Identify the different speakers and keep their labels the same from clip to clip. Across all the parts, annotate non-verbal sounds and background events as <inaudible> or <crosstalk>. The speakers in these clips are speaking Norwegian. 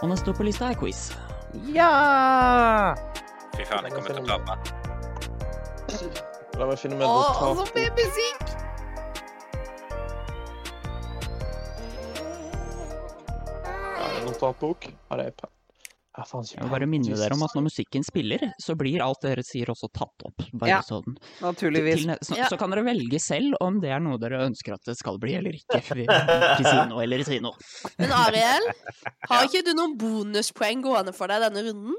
Speaker 1: Hva står på lista? Quiz.
Speaker 2: Ja!
Speaker 3: Fy faen, jeg kommer til å ta meg.
Speaker 4: La meg finne meg
Speaker 2: Å, altså,
Speaker 4: et
Speaker 2: så
Speaker 4: notat.
Speaker 2: mye musikk!
Speaker 4: Har jeg notatbok? Har jeg pen? Ja, faen, ikke
Speaker 1: Jeg vil
Speaker 4: pen.
Speaker 1: bare minne
Speaker 4: Jesus.
Speaker 1: dere om at når musikken spiller, så blir alt dere sier også tatt opp. Bare
Speaker 2: Ja.
Speaker 1: sånn. Til,
Speaker 2: Naturligvis.
Speaker 1: ne- så,
Speaker 2: Ja.
Speaker 1: så kan dere velge selv om det er noe dere ønsker at det skal bli eller ikke. Vi vil ikke si noe eller si noe.
Speaker 5: Men Ariel, har ikke du noen bonuspoeng gående for deg denne runden?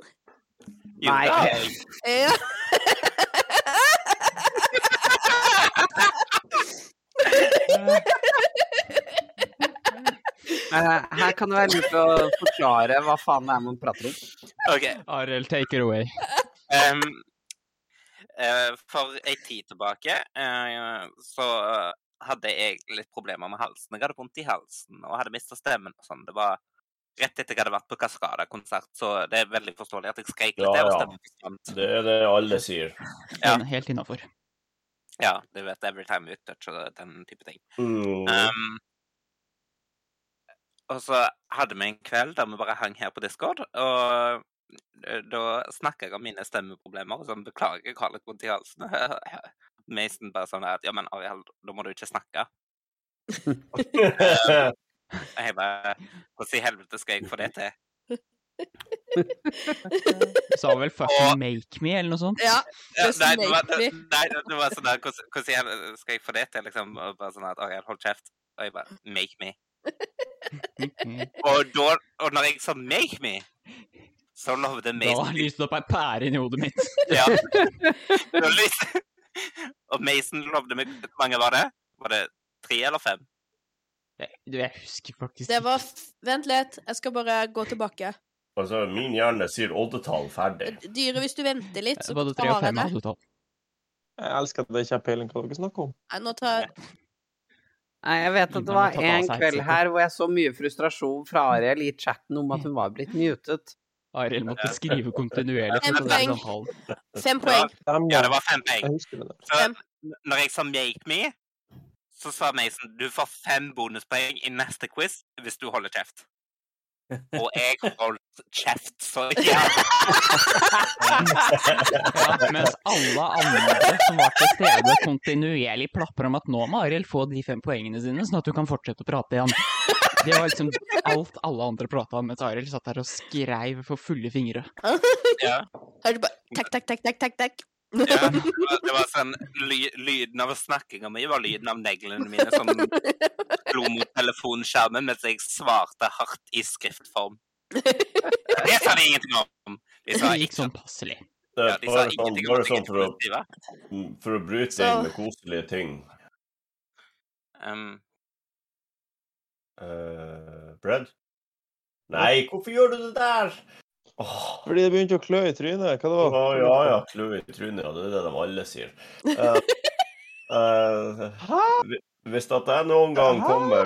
Speaker 3: Jo,
Speaker 2: Nei.
Speaker 3: det er jeg.
Speaker 5: Ja.
Speaker 2: Eh, her kan det være lurt å forklare hva faen det er man prater om.
Speaker 3: <laughs> Ok.
Speaker 1: Arild, take it away.
Speaker 3: ehm, eh, for ei tid tilbake eh, så eh, hadde jeg litt problemer med halsen. Jeg hadde vondt i halsen og hadde mista stemmen og sånn. Det var rett etter jeg hadde vært på Kaskada-konsert, så det er veldig forståelig at jeg skreik litt.
Speaker 6: Ja,
Speaker 3: der, og
Speaker 6: ja.
Speaker 3: stemmen forsvant.
Speaker 6: Det er det alle sier.
Speaker 3: Ja.
Speaker 1: Helt innafor.
Speaker 3: Ja, du vet every time you touch og den type ting. Um, og så hadde vi en kveld der vi bare hang her på Discord, og eh, da snakka jeg om mine stemmeproblemer og sånn 'Beklager, jeg har litt vondt i halsen'. <laughs> Mason bare sånn der at 'Ja, men Ariel, da må du ikke snakke'. Og jeg bare 'Hvordan i helvete skal jeg få det til?'
Speaker 1: Sa vel fucking make me, eller noe sånt?
Speaker 5: ja.
Speaker 3: Ja,
Speaker 5: Just
Speaker 3: nei, det var,
Speaker 5: make me.
Speaker 3: <laughs> nei, det var sånn der 'Hvordan hvordan i helvete skal jeg få det til?' liksom. Og bare sånn at 'Ariel, hold kjeft'. Og jeg bare 'Make me'.
Speaker 1: Mhm.
Speaker 3: Og, da, og når jeg sa 'make me', så lovde
Speaker 1: Da
Speaker 3: Mason
Speaker 1: lyste det opp ei pære inni hodet mitt.
Speaker 3: Ja. Det var litt- Og Mason lovde meg Hvor mange var det? Var det tre eller fem?
Speaker 1: Du, jeg husker faktisk
Speaker 5: Det var f- Vent litt, jeg skal bare gå tilbake.
Speaker 6: <laughs> Altså, min hjerne sier oddetall ferdig.
Speaker 5: Dyre, hvis du venter litt, så
Speaker 1: Både tre og
Speaker 5: tar jeg
Speaker 1: fem altså?
Speaker 5: det.
Speaker 1: hadde du tatt.
Speaker 4: Jeg elsker at det ikke er peiling på hva dere snakker om.
Speaker 5: Nei, nå tar
Speaker 2: Nei, jeg vet at det
Speaker 1: Man må
Speaker 2: var
Speaker 1: ta av
Speaker 2: en
Speaker 1: seg
Speaker 2: kveld
Speaker 1: headsetet.
Speaker 2: her hvor jeg så mye frustrasjon fra Ariel i chatten om at hun var blitt mutet.
Speaker 1: Arild måtte skrive kontinuerlig.
Speaker 5: En
Speaker 1: for å være
Speaker 5: poeng.
Speaker 1: samtalen.
Speaker 5: fem poeng.
Speaker 4: Dem,
Speaker 3: Ja, det var fem poeng.
Speaker 4: Jeg husker det.
Speaker 3: Så
Speaker 5: Fem.
Speaker 3: n- når jeg sa 'make me', så sa Mason du får fem bonuspoeng i neste quiz hvis du holder kjeft. Og jeg holdt kjeft, så ja.
Speaker 1: Ja, mens alle andre som var til stede, kontinuerlig plapper om at nå må Arild få de fem poengene sine, sånn at du kan fortsette å prate igjen. Det var liksom alt alle andre prata om, mens Arild satt der og skreiv for fulle fingre.
Speaker 5: Hørte bare takk, takk, takk, takk, takk, takk.
Speaker 3: ja. Det var- Det var sånn ly Lyden av snakkinga mi var lyden av neglene mine som slo mot telefonskjermen mens jeg svarte hardt i skriftform. Det sa de ingenting om. De
Speaker 1: Det
Speaker 3: sa
Speaker 1: gikk
Speaker 3: ikke
Speaker 1: sånn passelig.
Speaker 6: Det
Speaker 3: ja,
Speaker 6: er
Speaker 3: de sa
Speaker 6: bare sånn,
Speaker 3: ingenting om
Speaker 6: bare
Speaker 3: at jeg
Speaker 6: sånn
Speaker 3: ikke
Speaker 6: for å,
Speaker 3: kunne skrive.
Speaker 6: for å bryte
Speaker 5: Så-
Speaker 6: inn med koselige ting.
Speaker 3: Um,
Speaker 6: Eh, Brad? Nei, hvorfor gjør du det der? Åh.
Speaker 4: Fordi det begynte å klø i trynet. Hva det var
Speaker 6: Å, ja, ja, klo i trynet, ja, det er det de alle sier. Eh, eh,
Speaker 4: Hæ?
Speaker 6: hvi- hvis at jeg noen gang kommer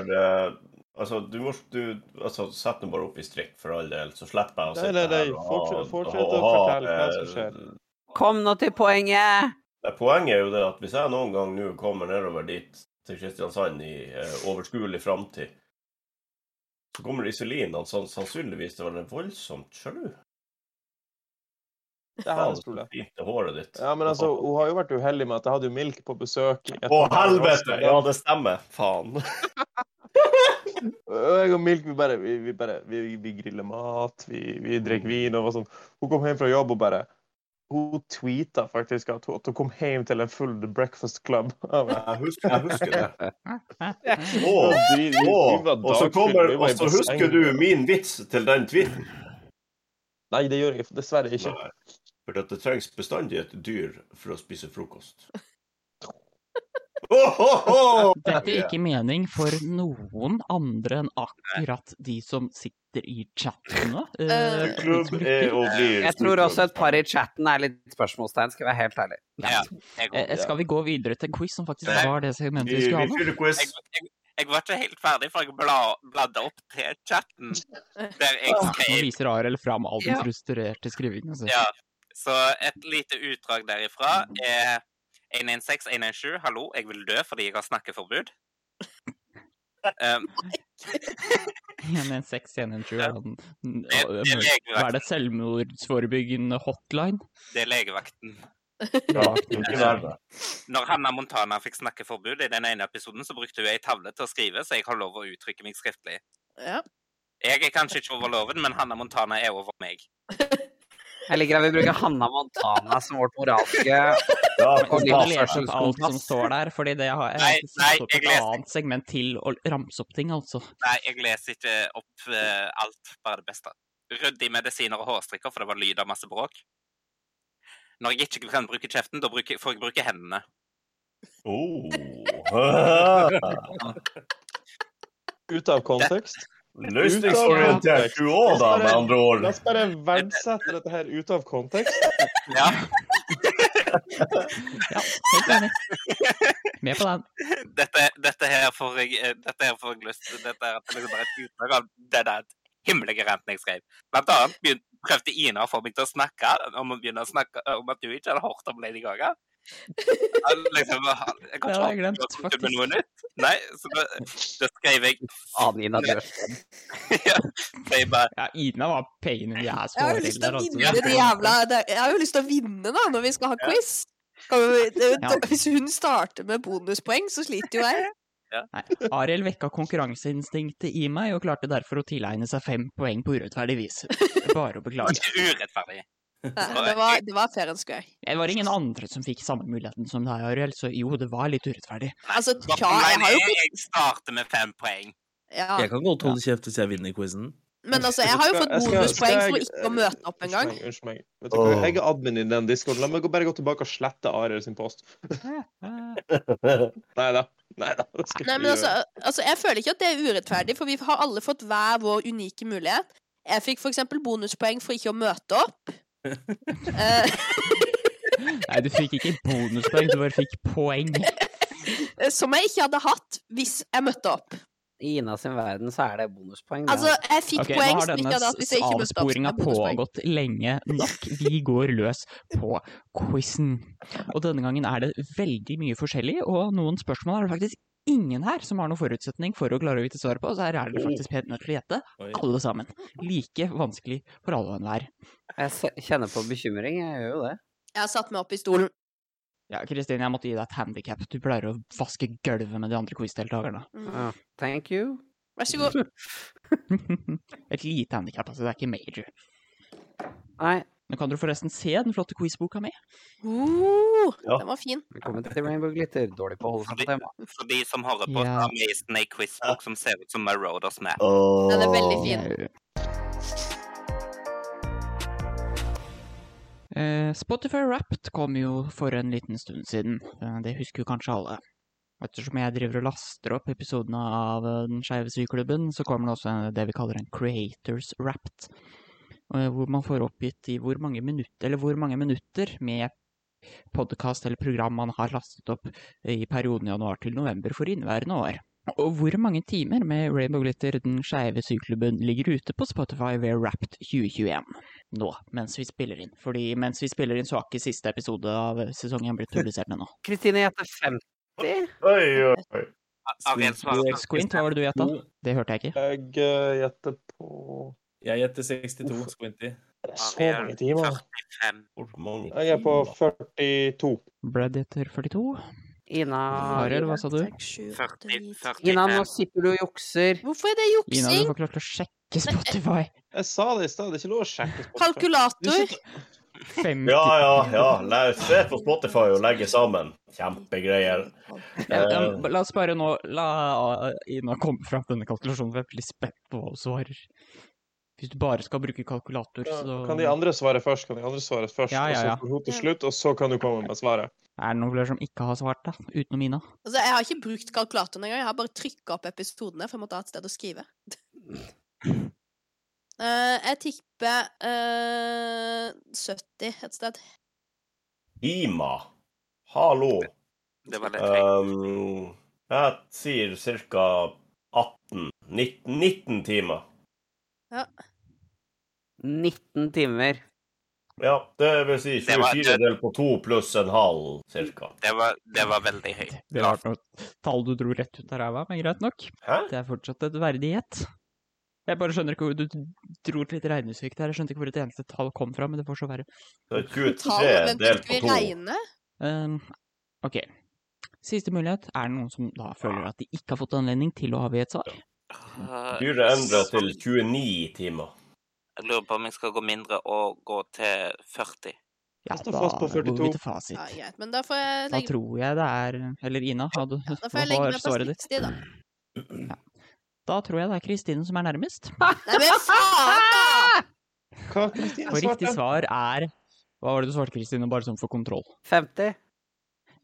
Speaker 6: eh, Altså, du må du, altså, Sett den bare opp i strikk, for all del, så slipper jeg
Speaker 4: Nei,
Speaker 6: å sitte
Speaker 4: nei, nei,
Speaker 6: her og
Speaker 4: fortsett-
Speaker 6: ha-
Speaker 4: fortsett
Speaker 6: og
Speaker 4: å
Speaker 6: ha,
Speaker 4: fortelle hva som
Speaker 6: eh,
Speaker 2: Kom nå til poenget!
Speaker 6: Nei, Poenget er jo det at hvis jeg noen gang nå kommer nedover dit, til Kristiansand, i eh, overskuelig framtid, så kommer Iselin han, sann- sannsynligvis til å være voldsomt sjalu.
Speaker 4: Det er
Speaker 6: Faen,
Speaker 4: hennes
Speaker 6: så
Speaker 4: problem.
Speaker 6: fint det håret ditt.
Speaker 4: Ja, men altså, hun har jo vært uheldig med at jeg hadde jo Milk på besøk. i et
Speaker 6: Å,
Speaker 4: par dager
Speaker 6: helvete!
Speaker 4: også.
Speaker 6: Ja, det stemmer. Faen.
Speaker 4: Og jeg og Milk, vi bare, vi, vi, bare, vi, vi griller mat, vi, vi drikker vin og var sånn. Hun kom hjem fra jobb og bare Hun tweeta faktisk at hun, at hun kom hjem til en full The Breakfast Club. <laughs> Jeg bare,
Speaker 6: Jeg husker, jeg husker det. Å,
Speaker 4: «Å, dri- vi- vi
Speaker 6: å,
Speaker 4: var
Speaker 6: og så
Speaker 4: dagfull,
Speaker 6: kommer,
Speaker 4: vi var
Speaker 6: og
Speaker 4: i
Speaker 6: så
Speaker 4: basseng».
Speaker 6: husker du min vits til den tweeten.
Speaker 4: Nei, det gjør jeg dessverre ikke.
Speaker 6: Nei, For at det trengs bestandig et dyr for å spise
Speaker 2: <laughs>
Speaker 6: frokost. Oh,
Speaker 1: Dette gir ikke mening for noen andre enn akkurat de som sitter i chatten nå. Eh,
Speaker 5: Eh,
Speaker 1: de
Speaker 6: Klubb
Speaker 1: som lytter.
Speaker 6: er og blir
Speaker 2: Jeg tror også et par i chatten er litt spørsmålstegn, skal jeg være helt ærlig.
Speaker 3: ja, jeg
Speaker 1: Eh, eh, Skal vi gå videre til quiz, som faktisk
Speaker 3: Nei.
Speaker 1: var det segmentet
Speaker 6: Vi,
Speaker 1: vi
Speaker 6: vi
Speaker 1: skulle ha nå?
Speaker 6: fyrer quiz.
Speaker 3: jeg, jeg, jeg var ikke helt ferdig, for jeg bla, bladde opp til chatten der jeg
Speaker 1: Nå
Speaker 3: skrev.
Speaker 1: viser Arild fram all den
Speaker 2: Ja.
Speaker 1: frustrerte skrivingen. altså.
Speaker 3: Ja. Så et lite utdrag derifra er 116 117, hallo,
Speaker 1: <laughs>
Speaker 3: jeg vil dø fordi jeg har snakkeforbud. Um,
Speaker 1: <laughs> 116, 117
Speaker 3: Ja.
Speaker 1: og den-
Speaker 3: Det,
Speaker 1: og-
Speaker 3: det,
Speaker 1: Hva
Speaker 3: er
Speaker 1: er
Speaker 3: legevakt,
Speaker 1: det, selvmordsforebyggende hotline?
Speaker 3: det er legevakten.
Speaker 6: Ja, ikke verre.
Speaker 3: Når Hanna Montana fikk snakkeforbud i den ene episoden, så brukte hun ei tavle til å skrive, så jeg har lov å uttrykke meg skriftlig.
Speaker 5: Ja.
Speaker 3: Jeg er kanskje ikke over loven, men Hanna Montana er over meg.
Speaker 2: Jeg liker at vi bruker Hanna Montana som vårt moralske
Speaker 6: Ja,
Speaker 1: Kan
Speaker 2: Og
Speaker 1: du
Speaker 2: Kompass.
Speaker 1: lese opp alt som står der? Fordi det har jeg har
Speaker 3: Nei,
Speaker 1: satt opp
Speaker 3: nei, jeg
Speaker 1: et
Speaker 3: leser.
Speaker 1: annet segment til å ramse opp ting, altså.
Speaker 3: Nei, jeg leser ikke opp eh, alt, bare det beste. Ryddig medisiner og hårstrikker, for det var lyd av masse bråk. Når jeg ikke kan bruke kjeften, da bruker, får jeg bruke hendene.
Speaker 6: Oh.
Speaker 4: Ut av kontekst.
Speaker 6: Løsningsorientert du òg, da, med andre
Speaker 4: La
Speaker 6: ord.
Speaker 4: oss bare verdsette dette her ut av kontekst.
Speaker 3: Ja,
Speaker 1: Ja, helt enig.
Speaker 3: <laughs>
Speaker 1: Med på den.
Speaker 3: dette, dette her får jeg eh, Dette her får jeg lyst til Dette er liksom bare et utdrag av den der himmelige ranten jeg skrev. Blant annet begynte, prøvde Ina å få meg til å snakke om å begynne å snakke om at du ikke hadde hørt om Lady Gaga. Jeg Liksom, jeg kan
Speaker 1: Det
Speaker 3: ikke
Speaker 1: hadde jeg
Speaker 3: håpe
Speaker 1: glemt,
Speaker 3: du har kommet
Speaker 1: faktisk.
Speaker 3: med noe nytt. Nei, så da, da skrev jeg
Speaker 2: Anina dør.
Speaker 3: så jeg bare
Speaker 1: Ja, Ina var pain in the ass.
Speaker 5: Jeg har jo
Speaker 1: for
Speaker 5: lyst til å
Speaker 1: Hilder, altså.
Speaker 5: vinne det jævla det, Jeg har jo lyst til å vinne, da, når vi skal ha
Speaker 3: Ja.
Speaker 5: quiz. Kan vi- det-
Speaker 1: Ja.
Speaker 5: Hvis hun starter med bonuspoeng, så sliter jo jeg.
Speaker 1: Nei, Ariel vekka konkurranseinstinktet i meg og klarte derfor å tilegne seg fem poeng på urettferdig vis. Bare å beklage.
Speaker 3: Ikke urettferdig.
Speaker 5: Nei, det, var, det var fair and square.
Speaker 1: Det var ingen andre som fikk samme muligheten som deg, Ariel, så jo, det var litt urettferdig.
Speaker 5: Altså,
Speaker 3: Bottom
Speaker 5: ja, jeg
Speaker 3: line
Speaker 5: har jo
Speaker 3: er, jeg starter med fem poeng.
Speaker 5: ja.
Speaker 7: Jeg kan godt holde kjeft hvis jeg vinner quizen.
Speaker 5: Men altså, jeg har jo fått
Speaker 4: Jeg skal- jeg skal-
Speaker 5: bonuspoeng for
Speaker 4: jeg-
Speaker 5: ikke å møte opp engang.
Speaker 4: Unnskyld meg. unnskyld meg. Vet du hva,
Speaker 6: Åh.
Speaker 4: Jeg er admin i den discoen. La meg gå- bare gå tilbake og slette Ariel sin post.
Speaker 3: Eh,
Speaker 4: Nei da. Nei da. Det skal
Speaker 5: Nei,
Speaker 4: jeg
Speaker 5: men
Speaker 4: ikke
Speaker 5: altså,
Speaker 4: gjøre.
Speaker 5: altså, jeg føler ikke at det er urettferdig, for vi har alle fått hver vår unike mulighet. Jeg fikk for eksempel bonuspoeng for ikke å møte opp. Eh,
Speaker 1: Nei, du fikk ikke bonuspoeng, du bare fikk poeng.
Speaker 5: som jeg ikke hadde hatt hvis jeg møtte opp.
Speaker 2: I Ina sin verden så er det bonuspoeng. det.
Speaker 5: Altså, jeg fikk
Speaker 1: Ok,
Speaker 5: poeng
Speaker 1: nå har
Speaker 5: som jeg
Speaker 1: denne
Speaker 5: ikke hadde hatt hvis jeg ikke møtte opp. så
Speaker 1: avsporinga
Speaker 5: det er bonuspoeng.
Speaker 1: pågått lenge nok. Vi går løs på quizen. Og denne gangen er det veldig mye forskjellig, og noen spørsmål er det faktisk ingen her som har noen forutsetning for å klare å vite svaret på, så her er det faktisk helt nødt til å gjette, alle sammen. Like vanskelig for alle og enhver.
Speaker 2: Jeg se- kjenner på bekymring, jeg gjør jo det.
Speaker 5: Jeg har satt meg opp i stolen.
Speaker 1: Ja, Kristin, jeg måtte gi deg et handikap. Du pleier å vaske gulvet med de andre quizdeltakerne. <laughs>
Speaker 5: Mm.
Speaker 2: Ja. Thank you.
Speaker 5: Vær så god.
Speaker 1: Et lite handikap, altså. Det er ikke major.
Speaker 2: Nei,
Speaker 1: Nå kan dere forresten se den flotte quizboka mi.
Speaker 5: Uh,
Speaker 6: Ja.
Speaker 5: Den var fin.
Speaker 2: velkommen til Rainbow Glitter. Dårlig på å holde seg på tema.
Speaker 3: For de som hører på,
Speaker 1: Ja.
Speaker 3: så har vi i Snake Quizbook som ser ut som Marauders Map.
Speaker 5: Den er veldig fin.
Speaker 1: Eh, Spotify Wrapped kom jo for en liten stund siden. Eh, Det husker jo kanskje alle. Ettersom jeg driver og laster opp episodene av eh, Den skeive syklubben, så kommer det også en- det vi kaller en Creators Wrapped. eh, Hvor man får oppgitt i hvor mange minutter, eller hvor mange minutter med podkast eller program man har lastet opp eh, i perioden januar til november for inneværende år. Og hvor mange timer med Rainbow Glitter, den skeive syklubben, ligger ute på Spotify ved Wrapped 2021 nå, mens vi spiller inn? Fordi mens vi spiller inn, så har ikke siste episode av sesongen blitt publisert ennå.
Speaker 2: Kristine gjetter 50.
Speaker 6: Oi, oi, oi.
Speaker 3: Ariel svarer
Speaker 7: Squint,
Speaker 1: Squint, hva var det du gjetta? Det hørte jeg ikke.
Speaker 4: Jeg eh, gjetter på
Speaker 7: Jeg gjetter 62, Squinty.
Speaker 4: Det er så mange timer.
Speaker 3: 45.
Speaker 6: Hvor mange
Speaker 4: Jeg er på 42.
Speaker 1: Brad heter 42.
Speaker 2: Ina,
Speaker 1: Ariel, hva sa du?
Speaker 5: Seks, sju, åtte, ni, ti.
Speaker 3: 40,
Speaker 2: Ina, nå sitter du og jukser.
Speaker 5: Hvorfor er det
Speaker 1: Ina, du
Speaker 5: juksing?
Speaker 1: får ikke lov til å sjekke Spotify.
Speaker 4: Jeg sa det i stad, det er ikke lov å sjekke. Spotify. Du
Speaker 5: Kalkulator?
Speaker 4: sitter-
Speaker 1: Fem
Speaker 6: Ja, ja, ja.
Speaker 3: <laughs>
Speaker 6: La- Se på Spotify og legge sammen. Kjempegreier.
Speaker 1: Ja, ja, men La oss bare nå la Ina komme fram til denne kalkulasjonen, for jeg er veldig spent på hva hun svarer. Hvis du bare skal bruke kalkulator, så
Speaker 4: Kan de andre svare først? Kan de andre svare først?
Speaker 1: Ja, ja, ja.
Speaker 4: Og så får hun til slutt, og så kan du komme med svaret.
Speaker 1: Er det noen flere som ikke har svart, da? Utenom Ina?
Speaker 5: Altså, jeg har ikke brukt kalkulatoren engang. Jeg har bare trykka opp episodene, for jeg måtte ha et sted å skrive.
Speaker 1: <laughs>
Speaker 5: Eh, jeg tipper eh, 70 et sted.
Speaker 6: Ima. Hallo.
Speaker 3: Det var litt høyt.
Speaker 6: Um, jeg sier ca. 18 19, 19 timer.
Speaker 2: 19 timer.
Speaker 6: Ja, det vil si
Speaker 3: Det var-
Speaker 6: 24 delt på 2 pluss en halv, ca.
Speaker 3: Det var, det var veldig høyt.
Speaker 1: Det var noe tall du dro rett ut av ræva, men greit nok.
Speaker 6: Hæ?
Speaker 1: Det er fortsatt et verdig gjett. Jeg bare skjønner ikke hvor Du dro et lite regnestykke der. Jeg skjønte ikke hvor et eneste tall kom fra, men det får så være.
Speaker 6: Så
Speaker 5: Tall,
Speaker 6: 23
Speaker 5: vent,
Speaker 6: delt
Speaker 5: ikke
Speaker 6: på
Speaker 5: vi
Speaker 6: 2.
Speaker 5: regne?
Speaker 1: Ehm, ok. Siste mulighet. Er det noen som da føler at de ikke har fått anledning til å avgi et svar?
Speaker 3: Eh,
Speaker 6: Dyret endra til 29 timer.
Speaker 3: Jeg lurer på om jeg skal gå mindre og gå til 40.
Speaker 1: Ja,
Speaker 4: Jeg står
Speaker 1: da
Speaker 4: fast på
Speaker 1: går vi
Speaker 4: 42.
Speaker 1: til fasit.
Speaker 5: Ja, greit, men da får jeg
Speaker 1: Da
Speaker 5: legge,
Speaker 1: tror jeg det er Eller Ina, har du
Speaker 5: da får
Speaker 1: hva
Speaker 5: jeg legge
Speaker 1: var
Speaker 5: meg på
Speaker 1: svaret ditt?
Speaker 5: 60, da.
Speaker 1: Da tror jeg det er Kristine som er nærmest.
Speaker 5: Nei, men
Speaker 1: <laughs>
Speaker 5: faen, da!
Speaker 1: Ah!
Speaker 4: Hva Kristina
Speaker 1: Og riktig
Speaker 4: svarte?
Speaker 1: svar er Hva var det du svarte, Kristine, bare sånn for kontroll?
Speaker 2: 50.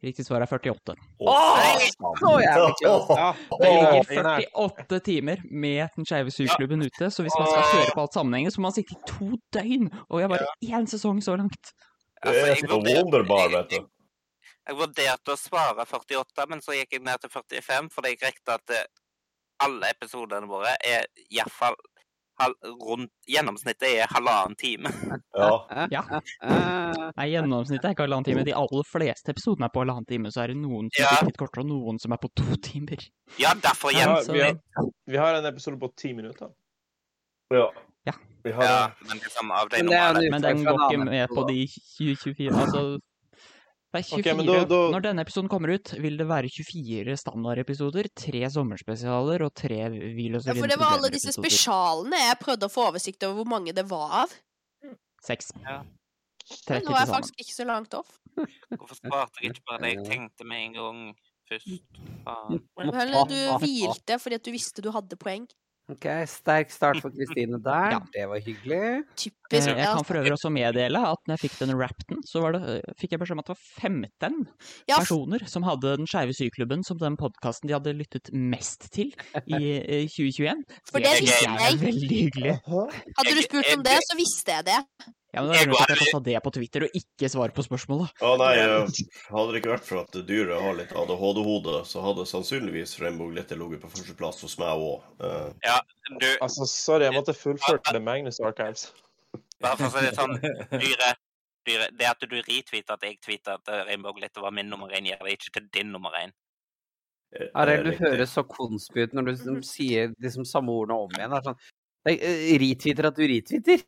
Speaker 1: Riktig svar er 48.
Speaker 2: Så jævlig close.
Speaker 4: Ja,
Speaker 1: Det ligger
Speaker 4: er nært.
Speaker 1: 48 timer med den skeive syklubben ute, så hvis man skal høre på alt sammenhengen, så må man sitte i to døgn! Og vi har bare én sesong så langt.
Speaker 6: <laughs> Det er
Speaker 3: Altså, jeg
Speaker 6: som en
Speaker 3: vurderte-
Speaker 6: wonderbar, vet du.
Speaker 3: Jeg vurderte å svare 48, men så gikk jeg ned til 45, fordi jeg rekte at eh, alle episodene våre er iallfall hal rundt Gjennomsnittet er halvannen time. <laughs>
Speaker 6: Ja.
Speaker 1: Ja.
Speaker 2: Eh,
Speaker 1: Nei, gjennomsnittet er ikke halvannen time. De aller fleste episodene er på halvannen time, så er det noen som
Speaker 3: Ja.
Speaker 1: er litt kortere, og noen som er på to timer.
Speaker 3: Ja, derfor
Speaker 4: Vi
Speaker 1: Ja,
Speaker 3: igjen.
Speaker 4: har,
Speaker 1: så-
Speaker 4: vi, har, vi har en episode på ti minutter.
Speaker 6: ja.
Speaker 1: Ja.
Speaker 6: Vi har
Speaker 3: Ja, men liksom av de
Speaker 2: Men det er
Speaker 3: normale.
Speaker 2: en
Speaker 1: Men den
Speaker 2: uttrykk fra
Speaker 1: går
Speaker 2: en
Speaker 1: ikke
Speaker 2: annen
Speaker 1: med på
Speaker 2: episode.
Speaker 1: de 20, 24 Altså, det er 24.
Speaker 4: Ok, men da- da-
Speaker 1: Når denne episoden kommer ut, vil det være 24 standardepisoder, tre sommerspesialer og tre hvil og
Speaker 5: Ja, for det var alle disse spesialene jeg prøvde å få oversikt over hvor mange det var av.
Speaker 1: Seks.
Speaker 3: Ja.
Speaker 1: 30
Speaker 5: Men nå
Speaker 1: til
Speaker 5: er jeg
Speaker 1: sammen.
Speaker 5: faktisk ikke så langt off.
Speaker 3: Hvorfor svarte jeg ikke på det jeg tenkte med en gang først?
Speaker 2: <laughs>
Speaker 3: Faen.
Speaker 5: Men du hvilte fordi at du visste du hadde poeng.
Speaker 2: Ok, sterk start for Kristine der.
Speaker 1: <laughs> Ja.
Speaker 2: Det var hyggelig.
Speaker 1: Eh,
Speaker 5: Typisk.
Speaker 1: Jeg
Speaker 5: Ja,
Speaker 1: kan for øvrig også meddele at når jeg fikk den rapten, så var det, eh, fikk jeg beskjed om at det var 15
Speaker 5: ja, f-
Speaker 1: personer som hadde Den skeive syklubben som den podkasten de hadde lyttet mest til i eh, 2021.
Speaker 5: for det
Speaker 3: Jeg-
Speaker 5: visste
Speaker 1: synes
Speaker 5: jeg.
Speaker 1: er veldig hyggelig.
Speaker 5: Hadde du spurt om det, så visste jeg det.
Speaker 1: Ja, men det
Speaker 3: Jeg
Speaker 1: er rart
Speaker 3: var-
Speaker 1: at jeg får ta det på Twitter og ikke svare på spørsmålet.
Speaker 6: Å nei, eh, hadde det ikke vært for at dyret har litt ADHD-hode, så hadde sannsynligvis Rainbow Glitter ligget på førsteplass hos meg eh, òg.
Speaker 3: Du,
Speaker 4: Altså, sorry, jeg måtte fullført The Magnus Archives.
Speaker 3: bare for å si det sånn, dyre, dyre Det at du retweeter at jeg tweeter at eh, Rainbow Glitter var min nummer én, gjør det ikke til din nummer én.
Speaker 6: eh,
Speaker 2: Arild, du høres så konspi ut når du som sier de som samme ordene om igjen. Det er sånn, det er, eh, retweeter at du retweeter.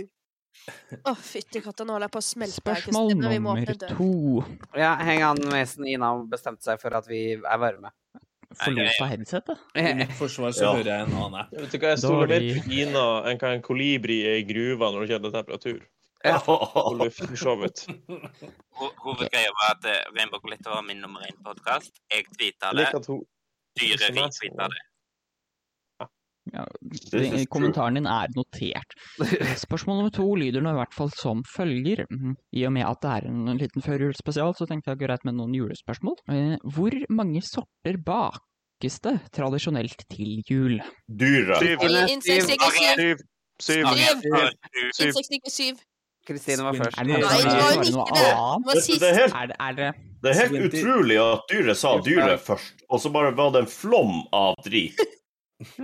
Speaker 5: Å, fytti katta, nå holder jeg på å smelte. her,
Speaker 1: Spørsmål
Speaker 5: Kristine, vi må
Speaker 1: nummer
Speaker 5: åpne døren.
Speaker 1: to.
Speaker 2: Ja, heng an, Mason. Ina bestemte seg for at vi er
Speaker 1: <laughs>
Speaker 2: varme.
Speaker 1: Forlot av headsetet?
Speaker 7: <laughs> I mitt forsvar så
Speaker 6: Ja.
Speaker 7: hører jeg en annen app.
Speaker 4: Vet du hva, jeg stoler
Speaker 1: Da
Speaker 4: mer
Speaker 1: er de-
Speaker 4: på Ina enn hva en kolibri er i gruva når det gjelder temperatur. Og
Speaker 6: høres
Speaker 4: luftshowet.
Speaker 3: Ho- Hovedgreia var at eh, Rainbow Glitter var min nummer én-podkast. Jeg tweeta det,
Speaker 4: Jeg liker at hun
Speaker 3: dyret
Speaker 4: som er så-
Speaker 3: retweeta det.
Speaker 1: Ja,
Speaker 6: This is
Speaker 1: den- kommentaren din er notert. Spørsmål nummer to lyder nå i hvert fall som følger. Mhm. I og med at det er en liten førjulsspesial, så tenkte jeg greit med noen julespørsmål. Eh, Hvor mange sorter bakes det tradisjonelt til jul?
Speaker 6: <laughs> Dyret.
Speaker 4: Syv,
Speaker 5: I-
Speaker 2: Syv.
Speaker 5: Insekt stikker syv.
Speaker 4: syv, syv.
Speaker 5: Syv.
Speaker 3: Ariel,
Speaker 4: Syv.
Speaker 5: Insekt stikker syv.
Speaker 2: Kristine var først.
Speaker 1: Er det noen
Speaker 5: Nei,
Speaker 1: som
Speaker 5: det var jo
Speaker 1: svarer noe
Speaker 5: ikke det.
Speaker 1: annet?
Speaker 5: Det var
Speaker 6: Vet du,
Speaker 5: sist.
Speaker 6: det er helt,
Speaker 1: Er det, er det
Speaker 6: det er helt
Speaker 7: Svinte-
Speaker 6: utrolig at dyret sa dyret først, og så bare var det en flom av drit.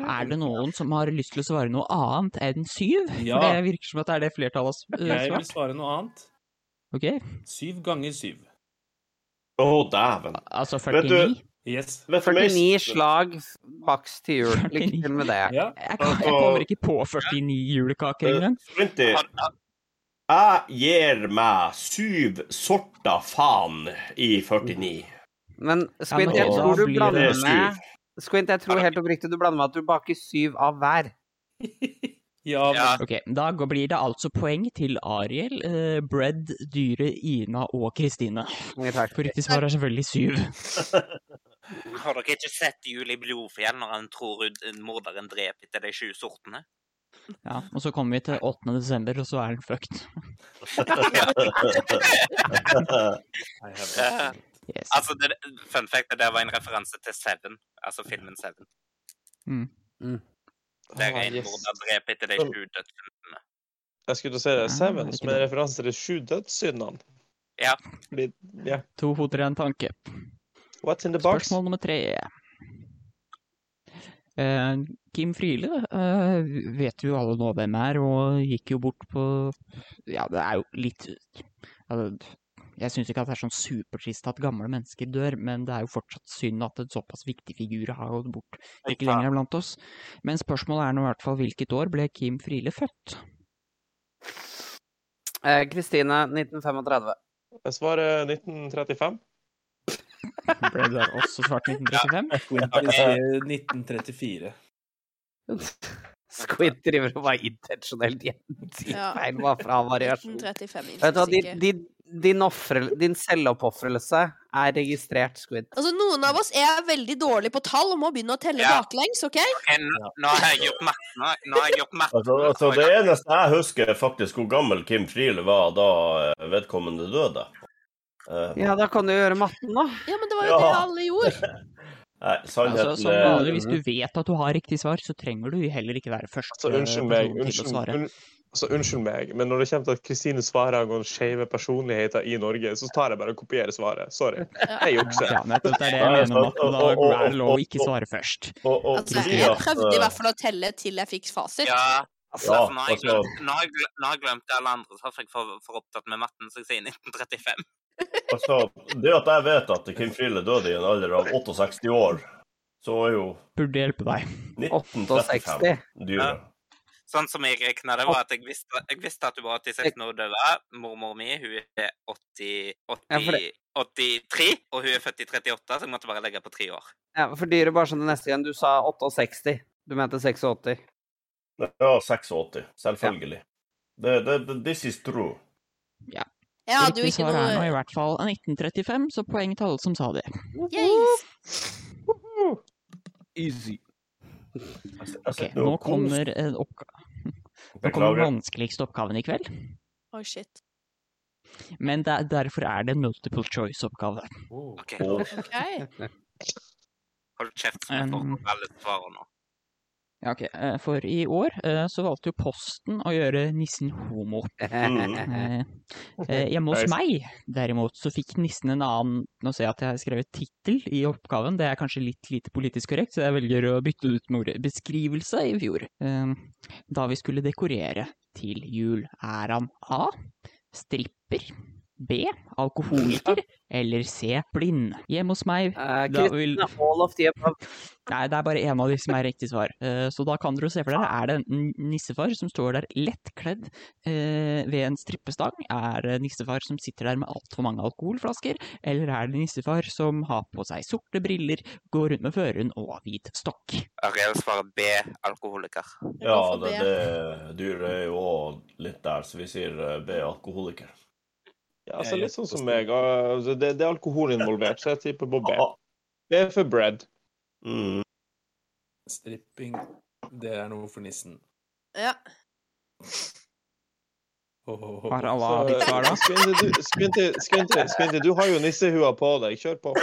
Speaker 1: Er det noen som har lyst til å svare noe annet enn syv?
Speaker 7: Ja.
Speaker 1: For det virker som at det er det flertallet har s-
Speaker 7: Jeg vil
Speaker 1: svart.
Speaker 7: svare noe annet.
Speaker 1: Ok,
Speaker 7: Syv ganger syv.
Speaker 6: Å, dæven.
Speaker 1: altså
Speaker 6: Vet du-
Speaker 1: 49?
Speaker 7: Yes.
Speaker 6: Vet du, Mason,
Speaker 2: 49 slag bakst til jul. Lykke til med det.
Speaker 7: Ja.
Speaker 1: Jeg, kan, jeg
Speaker 6: altså-
Speaker 1: kommer ikke på 49
Speaker 6: Eh,
Speaker 1: julekaker engang.
Speaker 6: Svinte,
Speaker 3: Har- har-
Speaker 6: jeg gir meg syv sorter faen i 49.
Speaker 2: Men Squint,
Speaker 1: men
Speaker 2: jeg
Speaker 6: da
Speaker 2: tror du
Speaker 1: blir det
Speaker 6: Det
Speaker 2: blander
Speaker 6: er
Speaker 2: med
Speaker 6: syv.
Speaker 2: Squint, jeg tror helt oppriktig du blander med at du baker syv av hver.
Speaker 7: Ja,
Speaker 3: Ja.
Speaker 7: men
Speaker 1: Ok, Da går- blir det altså poeng til Ariel, eh, Bredd, Dyre, Ina og Kristine.
Speaker 2: Takk.
Speaker 1: For riktig svar er selvfølgelig syv.
Speaker 3: Har dere ikke sett Jul i blodfjell når han tror ut- morderen dreper etter de sju sortene?
Speaker 1: Ja, Og så kommer vi til 8. desember, og så er den fucked.
Speaker 7: I have that.
Speaker 1: Yes.
Speaker 3: Altså, det, fun fact, det der var en referanse til Seven, altså filmen Seven. Der
Speaker 4: Ah,
Speaker 3: er en
Speaker 4: yes.
Speaker 3: morder dreper etter de
Speaker 4: Som-
Speaker 3: sju dødssyndene.
Speaker 4: Jeg skulle til å si det.
Speaker 1: Ah,
Speaker 4: Seven,
Speaker 1: ikke
Speaker 4: som er en
Speaker 1: dumt.
Speaker 4: referanse til de sju dødssyndene.
Speaker 3: Ja.
Speaker 4: Fordi- ja.
Speaker 1: To hoder og en tanke.
Speaker 4: What's in the box?
Speaker 1: Spørsmål nummer tre. Eh, Kim Friele eh, vet jo alle nå hvem er, og gikk jo bort på Ja, det er jo litt altså, Jeg syns ikke at det er sånn supertrist at gamle mennesker dør, men det er jo fortsatt synd at en såpass viktig figur har gått bort ikke lenger er blant oss. Men spørsmålet er nå i hvert fall hvilket år ble Kim Friele født?
Speaker 2: Eh, Kristine, <laughs> 1935.
Speaker 4: Jeg svarer 1935.
Speaker 1: Ble det der også svart 1935?
Speaker 7: Kompis er 1934.
Speaker 2: Squid driver og bare intensjonelt
Speaker 5: Ja.
Speaker 2: gjentefeil hva fra variasjon.
Speaker 5: 1935.
Speaker 2: Vet du hva, din,
Speaker 5: innsikker.
Speaker 2: din, din, offre- din selvoppofrelse er registrert, Squid.
Speaker 5: Altså, Noen av oss er veldig dårlige på tall og må begynne å telle
Speaker 3: Ja.
Speaker 5: baklengs. ok?
Speaker 3: Ok, nå- nå har jeg gjort matten. Nå har jeg gjort matten.
Speaker 6: Altså, altså, det eneste jeg husker, er faktisk hvor gammel Kim Friele var da eh, vedkommende døde. Eh,
Speaker 2: Ja, da kan du gjøre matten, da.
Speaker 5: Ja, men det var jo
Speaker 6: Ja.
Speaker 5: det alle gjorde.
Speaker 6: Nei,
Speaker 1: Altså,
Speaker 6: sannheten
Speaker 1: som vanlig,
Speaker 6: er
Speaker 1: hvis du vet at du har riktig svar, så trenger du heller ikke være første
Speaker 4: Altså, unnskyld meg,
Speaker 1: person til å
Speaker 4: unnskyld,
Speaker 1: svare.
Speaker 4: unn- altså, unnskyld meg, men når det kommer til at Kristine svarer angående skeive personligheter i Norge, så tar jeg bare og kopierer svaret. Sorry. Jeg jukser.
Speaker 1: Ja, nettopp, det er det
Speaker 6: Nei,
Speaker 1: jeg
Speaker 6: altså,
Speaker 1: mener, Matt. Da
Speaker 6: og- og-
Speaker 1: er det lov å
Speaker 6: og-
Speaker 1: ikke svare først.
Speaker 6: og, og,
Speaker 5: Altså,
Speaker 6: fordi
Speaker 5: Jeg
Speaker 6: at,
Speaker 5: prøvde i
Speaker 6: eh,
Speaker 5: hvert fall å telle til jeg fikk fasit.
Speaker 3: Ja, altså,
Speaker 6: Ja,
Speaker 3: for nå har jeg
Speaker 6: altså-
Speaker 3: glemt, nå har jeg glemt, nå har jeg glemt alle andre, så har jeg for, for opptatt med matten, så jeg sier 1935.
Speaker 6: altså, det at jeg vet at Kim Friele døde i en alder av 68 år, så er jo
Speaker 1: Burde hjelpe deg.
Speaker 6: 1935 dyre.
Speaker 3: Sånn som jeg regna det, var at jeg visste, jeg visste at du var 86 når du var. Mormor mi hun er 80, 80, 83, og hun er født i 38, så jeg måtte bare legge på tre år.
Speaker 2: Ja, for dyret bare sånn neste gang. Du sa 68. Du mente 86.
Speaker 6: Ja, 86. Selvfølgelig. Det, det, det, this is true.
Speaker 5: Jeg hadde jo
Speaker 1: Riktig
Speaker 5: ikke
Speaker 1: svar er nå i
Speaker 5: noe
Speaker 1: hvert fall 1935, så poeng til alle som sa det.
Speaker 5: Yes.
Speaker 2: Easy.
Speaker 6: Jeg sit- jeg
Speaker 1: Altså, Ok,
Speaker 6: sitter
Speaker 1: nå
Speaker 6: og koser-
Speaker 1: kommer en oppgave. Nå kommer
Speaker 6: Beklager.
Speaker 1: den vanskeligste oppgaven i kveld,
Speaker 5: Oh, shit.
Speaker 1: men det er, derfor er det en multiple choice-oppgave.
Speaker 3: <laughs> Ok,
Speaker 6: Og-
Speaker 5: Ok.
Speaker 3: Hold kjeft, så jeg får
Speaker 1: Um.
Speaker 3: alle svarene nå.
Speaker 1: Ja, ok, eh, For i år eh, så valgte jo Posten å gjøre nissen homo.
Speaker 6: Mm.
Speaker 1: Eh, eh, Hjemme hos meg, derimot, så fikk nissen en annen Nå ser jeg at jeg har skrevet tittel i oppgaven, det er kanskje litt lite politisk korrekt, så jeg velger å bytte ut med ordet beskrivelse i fjor. Eh, Da vi skulle dekorere til jul, er han A. Stripper. B. Alkoholiker. Eller C. Blind. Hjemme hos meg
Speaker 2: Eh,
Speaker 1: Da vil-
Speaker 2: Kristine, all of the above.
Speaker 1: Nei, det er bare en av de som er riktig svar. Eh, Så da kan dere jo se for dere, er det enten nissefar som står der lettkledd eh, ved en strippestang? Er det nissefar som sitter der med altfor mange alkoholflasker? Eller er det nissefar som har på seg sorte briller, går rundt med førerhund og hvit stokk?
Speaker 3: Ariel svarer B, alkoholiker.
Speaker 5: Jeg
Speaker 6: Ja,
Speaker 5: går for
Speaker 6: det,
Speaker 5: B.
Speaker 6: det dyret er jo også litt der, så vi sier eh, B, alkoholiker.
Speaker 4: Ja, altså, litt sånn som meg. altså, Det, det er alkohol involvert, så jeg tipper på B. Det er for bread.
Speaker 6: Mm.
Speaker 7: Stripping, det er noe for nissen.
Speaker 5: Ja.
Speaker 7: Ho, ho, ho.
Speaker 1: Har alle hatt ditt
Speaker 4: <laughs>
Speaker 1: svar da?
Speaker 4: Skvinte, du, skvinte, skvinte, skvinte, du har jo nissehua på deg. Kjør på.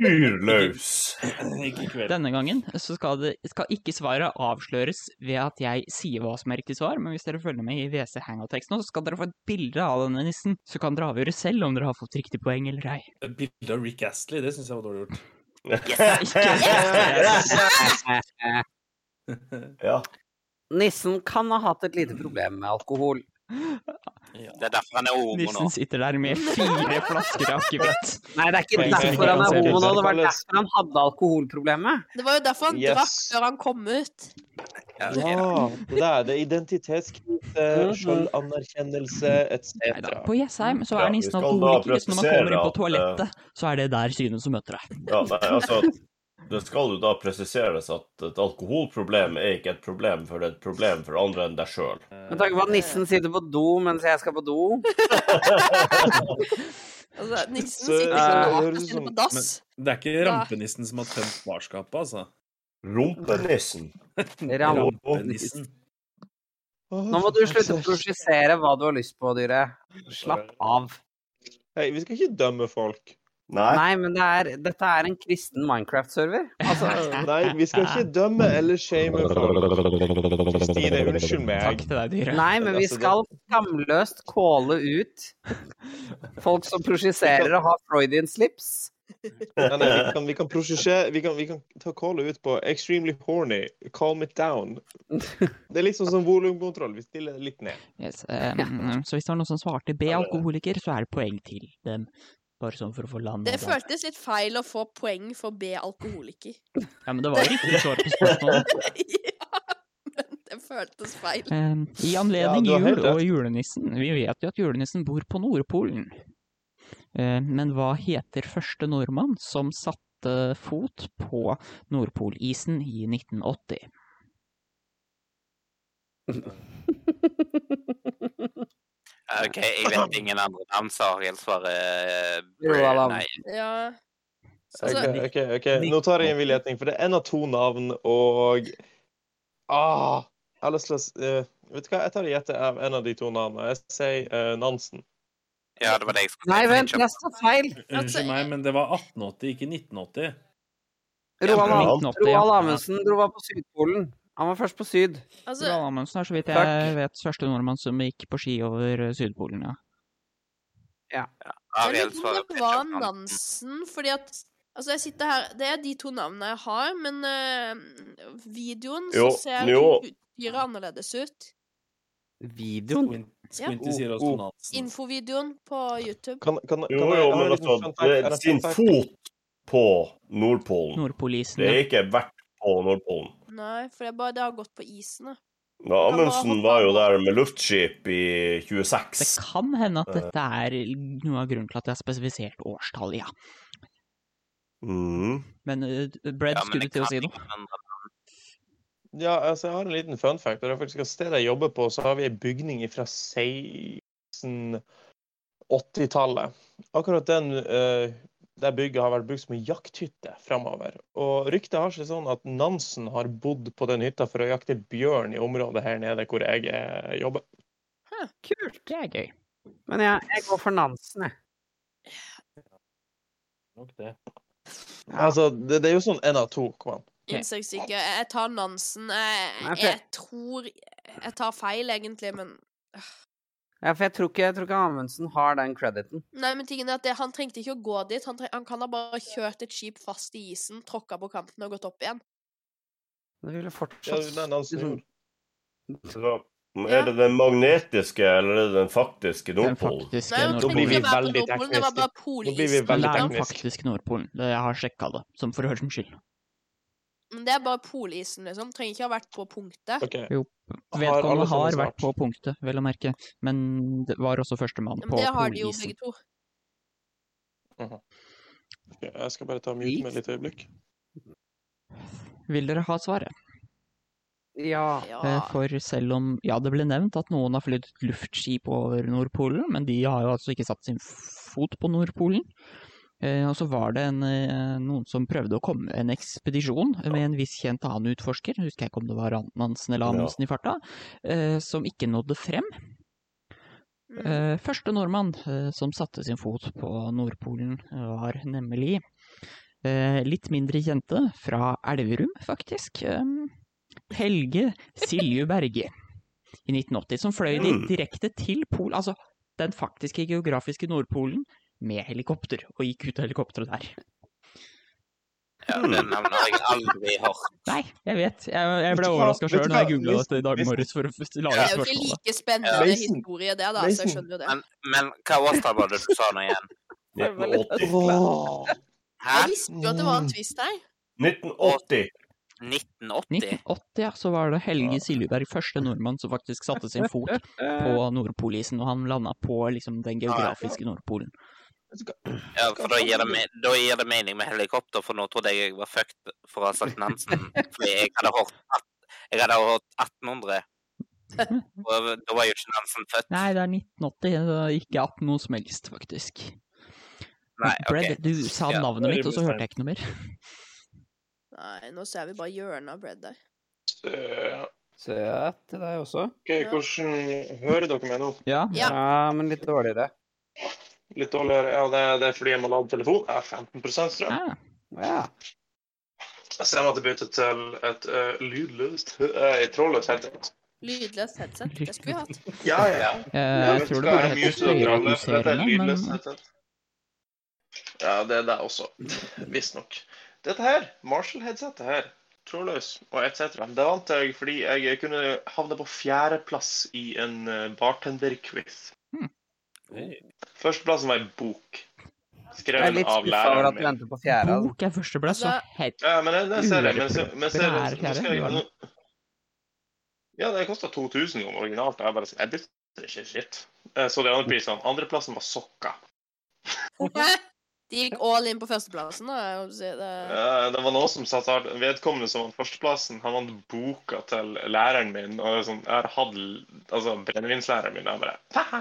Speaker 6: Fyr løs!
Speaker 7: Ikke i kveld.
Speaker 1: Denne gangen så skal, det, skal ikke svaret avsløres ved at jeg sier hva som er riktig svar, men hvis dere følger med i WC Hangout-teksten, så skal dere få et bilde av denne nissen. Så kan dere avgjøre selv om dere har fått riktig poeng eller ei. <laughs>
Speaker 7: Bilde av Rick Astley, det syns jeg var dårlig gjort.
Speaker 6: Ja.
Speaker 2: <laughs> Nissen kan ha hatt et lite problem med alkohol.
Speaker 3: Det er derfor han er homo nå.
Speaker 1: Nissen sitter der med fire flasker akevitt.
Speaker 2: Nei, det er ikke
Speaker 1: Poeng.
Speaker 2: derfor han er homo nå, det var
Speaker 4: Kalles-
Speaker 2: derfor han hadde alkoholproblemet.
Speaker 5: Det var jo derfor han
Speaker 4: Yes.
Speaker 5: drakk før han kom ut.
Speaker 3: Ja,
Speaker 4: Ja, det der. Det er identitetskrise,
Speaker 1: Mhm.
Speaker 4: sjølanerkjennelse etc.
Speaker 1: Neida. På Jessheim så
Speaker 6: Ja,
Speaker 1: er
Speaker 6: vi
Speaker 1: nissen
Speaker 6: skal da
Speaker 1: alkoholiker, så når man kommer inn på
Speaker 6: presisere at,
Speaker 1: toalettet, så er det der synet som møter deg.
Speaker 6: ja nei, altså, det skal jo da presiseres at et alkoholproblem er ikke et problem for det er et problem for andre enn deg sjøl.
Speaker 2: Med tanke på at nissen sitter på do mens jeg skal på do.
Speaker 5: Altså, Nissen
Speaker 4: Så-
Speaker 5: sitter
Speaker 2: Eh,
Speaker 5: ikke
Speaker 4: høres
Speaker 5: naken sine
Speaker 4: som-
Speaker 5: på dass.
Speaker 7: Det er ikke rampenissen som har tømt barskapet, altså.
Speaker 6: Rumpenissen.
Speaker 7: Rampenissen.
Speaker 2: Nå må du slutte å prosjisere hva du har lyst på, dyret. Slapp av.
Speaker 4: Hei, vi skal ikke dømme folk.
Speaker 6: Nei.
Speaker 2: Nei, men det er, dette er en kristen Minecraft-server. Altså,
Speaker 4: Nei, vi skal ikke dømme eller shame folk. Kristine,
Speaker 1: Takk
Speaker 4: unnskyld meg.
Speaker 1: til deg, dyret.
Speaker 2: nei, men vi skal skamløst kåle ut folk som prosjiserer og har Freudian slips. <laughs>
Speaker 4: Nei, nei, vi kan, vi kan prosjektere Vi kan, vi kan ta callet ut på 'extremely horny', 'calm it down'. Det er liksom sånn volumkontroll. Vi stiller det litt ned.
Speaker 1: Yes, eh, mm, så hvis det var noen som svarte B-alkoholiker, så er det poeng til dem. Bare sånn for å få landet
Speaker 5: Det føltes litt feil å få poeng for B-alkoholiker.
Speaker 1: Ja, men det var riktig svar på spørsmålet.
Speaker 5: <laughs> ja, men det føltes feil.
Speaker 1: Eh, I
Speaker 4: Ja,
Speaker 1: anledning
Speaker 4: du har helt
Speaker 1: jul og julenissen. Vi vet jo at julenissen bor på Nordpolen. Eh, men hva heter første nordmann som satte fot på Nordpolisen i 1980?
Speaker 3: OK, jeg vet ingen andre navn, så Arild svarer eh,
Speaker 2: Roald Amundsen.
Speaker 3: Nei.
Speaker 5: Ja.
Speaker 4: Ok,
Speaker 5: Altså,
Speaker 4: ok, ok. Nå tar jeg en villetning, for det er en av to navn, og ah, jeg har lyst til å s- eh, Vet du hva, jeg tar og gjetter av en av de to navnene. Jeg sier eh, Nansen.
Speaker 3: Ja, det var det jeg skulle
Speaker 2: Nei,
Speaker 3: si.
Speaker 2: vent, jeg sa feil!
Speaker 5: Altså-
Speaker 7: Unnskyld meg, men det var 1880, ikke 1980.
Speaker 2: Roald
Speaker 6: Ja,
Speaker 2: Amundsen,
Speaker 1: 1980, ja.
Speaker 2: Roald Amundsen dro var på Sydpolen. Han var først på Syd.
Speaker 5: altså
Speaker 1: Roald Amundsen er så vidt
Speaker 2: Takk.
Speaker 1: jeg vet første nordmann som gikk på ski over eh, Sydpolen, ja.
Speaker 5: Jeg
Speaker 3: Ariel
Speaker 5: lurer på om
Speaker 3: svarer
Speaker 5: det var
Speaker 3: Petterson.
Speaker 5: Nansen, fordi at Altså, jeg sitter her Det er de to navnene jeg har, men eh, videoen så
Speaker 6: Jo,
Speaker 5: ser
Speaker 6: jo.
Speaker 5: dyret annerledes ut.
Speaker 7: Sånn.
Speaker 2: Videoen?
Speaker 7: Squinty sier også
Speaker 4: Oh, oh.
Speaker 7: Nansen.
Speaker 5: Infovideoen på YouTube.
Speaker 4: Kan, kan,
Speaker 6: <laughs> Jo,
Speaker 4: kan jeg-
Speaker 6: jo,
Speaker 4: jeg har en
Speaker 6: men
Speaker 4: liten fun
Speaker 6: altså,
Speaker 4: fact,
Speaker 6: det
Speaker 4: er
Speaker 6: er
Speaker 4: det
Speaker 6: sin
Speaker 4: fun fact?
Speaker 6: fot på Nordpolen.
Speaker 1: Nordpolisen,
Speaker 6: Mm. Det
Speaker 1: ja.
Speaker 6: er ikke vært på Nordpolen.
Speaker 5: Nei, for det er bare det har gått på isen. da.
Speaker 6: Ja, Amundsen var jo der med luftskip i
Speaker 1: Det
Speaker 6: 26.
Speaker 1: kan hende at dette er noe av grunnen til at jeg har spesifisert årstallet, ja.
Speaker 6: Mhm.
Speaker 1: Men eh, Brad
Speaker 3: Ja, men
Speaker 1: skulle
Speaker 3: jeg
Speaker 1: til å
Speaker 3: kan
Speaker 1: si
Speaker 3: ikke
Speaker 1: noe.
Speaker 3: andre.
Speaker 4: Ja, altså, jeg har en liten fun fact. og Det er faktisk at stedet jeg jobber på, så har vi en bygning fra 1680-tallet. Akkurat den, eh, det bygget har vært brukt som en jakthytte framover. Og ryktet har seg sånn at Nansen har bodd på den hytta for å jakte bjørn i området her nede hvor jeg eh, jobber.
Speaker 2: Kult.
Speaker 1: Det er gøy.
Speaker 2: Men jeg, jeg går for Nansen, jeg.
Speaker 7: Nok det.
Speaker 4: Altså, det, det er jo sånn én av to. Kom an.
Speaker 1: Ok.
Speaker 5: Insektsikker. Jeg jeg tar Nansen.
Speaker 2: Nei,
Speaker 5: Jeg,
Speaker 2: for-
Speaker 5: jeg tror Jeg tar feil, egentlig, men
Speaker 2: Ja, for jeg tror ikke, jeg tror ikke Amundsen har den crediten.
Speaker 5: Nei, men tingen er at det, han trengte ikke å gå dit. Han, tre han kan ha bare kjørt et skip fast i isen, tråkka på kanten og gått opp igjen.
Speaker 2: Det ville
Speaker 4: Ja,
Speaker 2: fortsatt
Speaker 4: nei, Nansen
Speaker 2: liksom-
Speaker 4: gjorde
Speaker 6: Så, er det den magnetiske, eller er det den faktiske
Speaker 1: Den
Speaker 6: Nordpolen?
Speaker 1: faktiske
Speaker 5: Nei, han
Speaker 4: nå
Speaker 5: trengte
Speaker 4: blir
Speaker 1: Nordpolen.
Speaker 4: vi
Speaker 5: ikke å være på
Speaker 4: veldig
Speaker 5: Nordpolen, det var
Speaker 4: tekniske.
Speaker 5: bare
Speaker 4: Nå blir vi
Speaker 5: polisen. liksom.
Speaker 1: Ja, Det
Speaker 4: veldig
Speaker 1: er den
Speaker 4: teknisk.
Speaker 1: faktiske Nordpolen. Det- Jeg har sjekka det, som for hørens skyld.
Speaker 5: Men det er bare polisen, liksom. Trenger ikke ha vært på punktet.
Speaker 4: Ok.
Speaker 1: Jo,
Speaker 4: Har alle
Speaker 1: Vedkommende
Speaker 4: sammen
Speaker 1: har
Speaker 4: svart?
Speaker 1: vært på punktet, vel å merke, men det var også førstemann
Speaker 5: Men
Speaker 1: på
Speaker 5: det har de jo
Speaker 1: polisen.
Speaker 5: begge to.
Speaker 4: Ok, Jeg skal bare ta mute med et lite øyeblikk.
Speaker 1: Vil dere ha svaret?
Speaker 2: Ja.
Speaker 1: Eh,
Speaker 5: Ja.
Speaker 1: For selv om ja, det ble nevnt at noen har flydd luftskip over Nordpolen, men de har jo altså ikke satt sin fot på Nordpolen. Eh, og så var det en, eh, noen som prøvde å komme en ekspedisjon med en viss kjent annen utforsker, husker jeg ikke om det var Nansen eller
Speaker 6: Ja.
Speaker 1: Amundsen i farta, eh, som ikke nådde frem.
Speaker 5: Mm.
Speaker 1: Eh, første nordmann eh, som satte sin fot på Nordpolen, var nemlig eh, litt mindre kjente, fra Elverum, faktisk. Eh, Helge Silje Berge i 1980, som fløy de
Speaker 6: Mm.
Speaker 1: direkte til Pol, altså den faktiske geografiske Nordpolen, med helikopter, og gikk ut av helikopteret der.
Speaker 3: Ja, den navnet har jeg aldri hørt.
Speaker 1: Nei, jeg vet. Jeg, jeg
Speaker 4: Vet
Speaker 1: ble
Speaker 4: du hva?
Speaker 1: overraska
Speaker 4: Vet
Speaker 1: sjøl
Speaker 4: du
Speaker 1: når jeg
Speaker 4: hva?
Speaker 1: googla dette i dag
Speaker 4: Hvis-
Speaker 1: morges for å
Speaker 5: Det
Speaker 1: lage
Speaker 5: er jo ikke
Speaker 1: spørsmålet.
Speaker 5: like spennende
Speaker 4: Mason-
Speaker 5: historie, det, da, så jeg
Speaker 4: Mason-
Speaker 5: skjønner jo det.
Speaker 3: Men, men hva årstall var det du sa nå igjen?
Speaker 6: 1980.
Speaker 4: Åh,
Speaker 3: Hæ?
Speaker 5: Jeg visste jo at det var en twist her.
Speaker 6: 1980.
Speaker 3: 1980?
Speaker 1: 1980 ja, så var det Helge Siljeberg, første nordmann som faktisk satte sin fot
Speaker 2: Eh,
Speaker 1: på Nordpolisen, og han landa på liksom, den geografiske Nordpolen.
Speaker 4: vet du hva?
Speaker 3: Ja, for da gir, det, me- da gir det mening med helikopter, for nå trodde jeg jeg var fucked for å ha sagt Nansen. Fordi jeg hadde hørt, at, jeg hadde hørt
Speaker 1: <laughs>
Speaker 3: 1800. Og da var jo ikke Nansen født.
Speaker 1: Nei, det er 1980, det er ikke 18 noe som helst, faktisk.
Speaker 3: Nei,
Speaker 1: Brad,
Speaker 3: ok.
Speaker 1: du sa
Speaker 3: Ja,
Speaker 1: navnet
Speaker 6: det
Speaker 1: mitt, og så
Speaker 6: blir
Speaker 1: hørte jeg ikke noe mer.
Speaker 5: Nei, nå ser vi bare hjørnet av Brad der.
Speaker 4: Eh,
Speaker 2: Søt til deg også.
Speaker 4: Ok, hvordan hører dere meg nå?
Speaker 1: Ja,
Speaker 5: Ja.
Speaker 2: Ja, men litt dårligere.
Speaker 4: Litt dårligere. Ja, det, det er fordi jeg må lade telefon. Jeg har 15 strøm.
Speaker 1: ja.
Speaker 2: Ja.
Speaker 4: Så jeg måtte bytte til et eh, lydløst uh, trådløst headset.
Speaker 5: Lydløst headset. Det skulle vi hatt.
Speaker 4: Ja, ja.
Speaker 1: Eh, Jeg tror det burde hete
Speaker 4: dere alle. for Dette er et
Speaker 1: støyreduserende,
Speaker 4: lydløst
Speaker 1: men
Speaker 4: headset. Ja, det er deg også. Visstnok. Dette her, Marshall-headsetet her, trådløs og etc., det vant jeg fordi jeg kunne havne på fjerdeplass i en eh, bartender-quiz.
Speaker 6: Hey.
Speaker 4: Førsteplassen var ei bok.
Speaker 2: Jeg er
Speaker 4: Skrevet
Speaker 2: litt
Speaker 4: av
Speaker 2: skuffa over
Speaker 4: læreren
Speaker 2: at du
Speaker 4: min.
Speaker 2: endte på fjerde. altså.
Speaker 1: Bok er førsteplass, og
Speaker 5: Da-
Speaker 1: head
Speaker 4: Ja, men det, det ser jeg. Men, så- men ser,
Speaker 1: Ureprodukter er
Speaker 4: nå skal jeg,
Speaker 1: fjerde,
Speaker 4: nå, ja, det kosta 2000 kroner originalt. og Jeg bare jeg brukte ikke shit. Eh, Så de andre prisene Andreplassen var sokker.
Speaker 5: <laughs> De gikk all in på førsteplassen. Da. jeg håper å si det.
Speaker 4: Eh, Det var noen som satt hardt. Vedkommende som vant førsteplassen, han vant boka til læreren min. Og sånn, jeg har hatt l- altså, brennevinslæreren min. og Jeg bare Haha,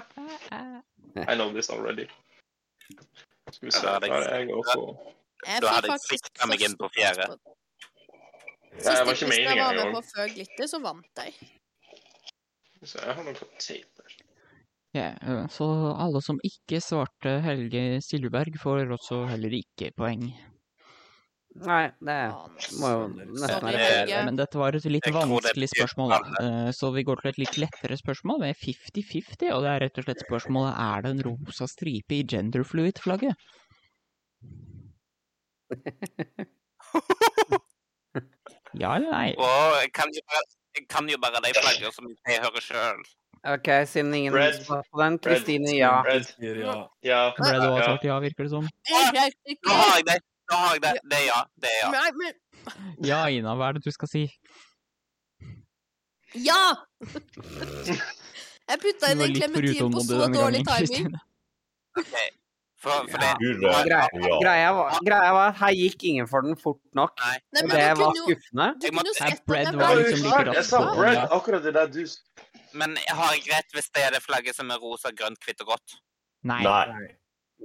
Speaker 4: I know this already. Skal vi se,
Speaker 3: Ja,
Speaker 4: her
Speaker 3: det er
Speaker 4: er jeg også
Speaker 3: Da
Speaker 5: Jeg fikk
Speaker 3: hadde jeg
Speaker 5: faktisk
Speaker 3: sikta meg inn på fjerde.
Speaker 5: førsteplass på-
Speaker 4: Nei, det var ikke
Speaker 5: Siste quizen jeg
Speaker 4: meningen
Speaker 5: var med
Speaker 4: engang.
Speaker 5: på før Glitter, så vant jeg.
Speaker 4: Så jeg har noe tape her.
Speaker 1: Ja, øh, så alle som ikke svarte Helge Silverberg, får også heller ikke poeng.
Speaker 2: Nei, det må jo nesten
Speaker 5: Sorry,
Speaker 2: være
Speaker 5: Helge.
Speaker 2: feil.
Speaker 1: Men dette var et litt
Speaker 3: Jeg tror det
Speaker 1: vanskelig
Speaker 3: blir
Speaker 1: spørsmål, da. Eh, Så vi går til et litt lettere spørsmål med 50-50, og det er rett og slett spørsmålet er det en rosa stripe i genderfluid-flagget?
Speaker 3: <laughs>
Speaker 1: Ja eller nei?
Speaker 3: Og jeg kan jo bare, jeg kan jo bare de flaggene som jeg hører sjøl.
Speaker 2: OK, siden ingen
Speaker 4: Red.
Speaker 2: svarte på den. Kristine, ja.
Speaker 4: Red.
Speaker 7: Sier ja.
Speaker 4: Ja.
Speaker 1: Ble det også
Speaker 4: ja.
Speaker 1: svart ja, virker det som?
Speaker 5: Jeg vet ikke.
Speaker 3: Nå har jeg det! Nå har jeg det. Det er ja. Det er ja.
Speaker 5: Nei, men
Speaker 1: Ja, Ina, hva er det du skal si?
Speaker 5: Ja! Jeg
Speaker 1: Du
Speaker 5: putta
Speaker 1: var
Speaker 5: inn en
Speaker 1: litt for
Speaker 5: klementin på
Speaker 1: utålmodig
Speaker 5: så
Speaker 1: denne
Speaker 5: dårlig
Speaker 1: gangen,
Speaker 5: timing.
Speaker 1: Kristine.
Speaker 3: For, for det
Speaker 6: Hurra.
Speaker 2: Greia,
Speaker 6: Ja.
Speaker 2: greia, var, greia var at her gikk ingen for den fort nok.
Speaker 3: Nei.
Speaker 5: Nei,
Speaker 2: Og
Speaker 5: men
Speaker 2: det
Speaker 5: du
Speaker 2: var
Speaker 5: kunne jo
Speaker 2: skuffende.
Speaker 5: Du kunne jo
Speaker 3: Jeg måtte-
Speaker 5: sett at
Speaker 1: Bread
Speaker 5: jeg
Speaker 1: var
Speaker 5: var
Speaker 1: liksom like raskt
Speaker 4: Jeg
Speaker 5: sånn
Speaker 4: sa
Speaker 1: på.
Speaker 4: bread,
Speaker 1: Ja.
Speaker 4: akkurat det der du
Speaker 3: Men jeg har jeg rett hvis det er det flagget som er rosa, grønt, hvitt og grått?
Speaker 1: Nei,
Speaker 6: Nei.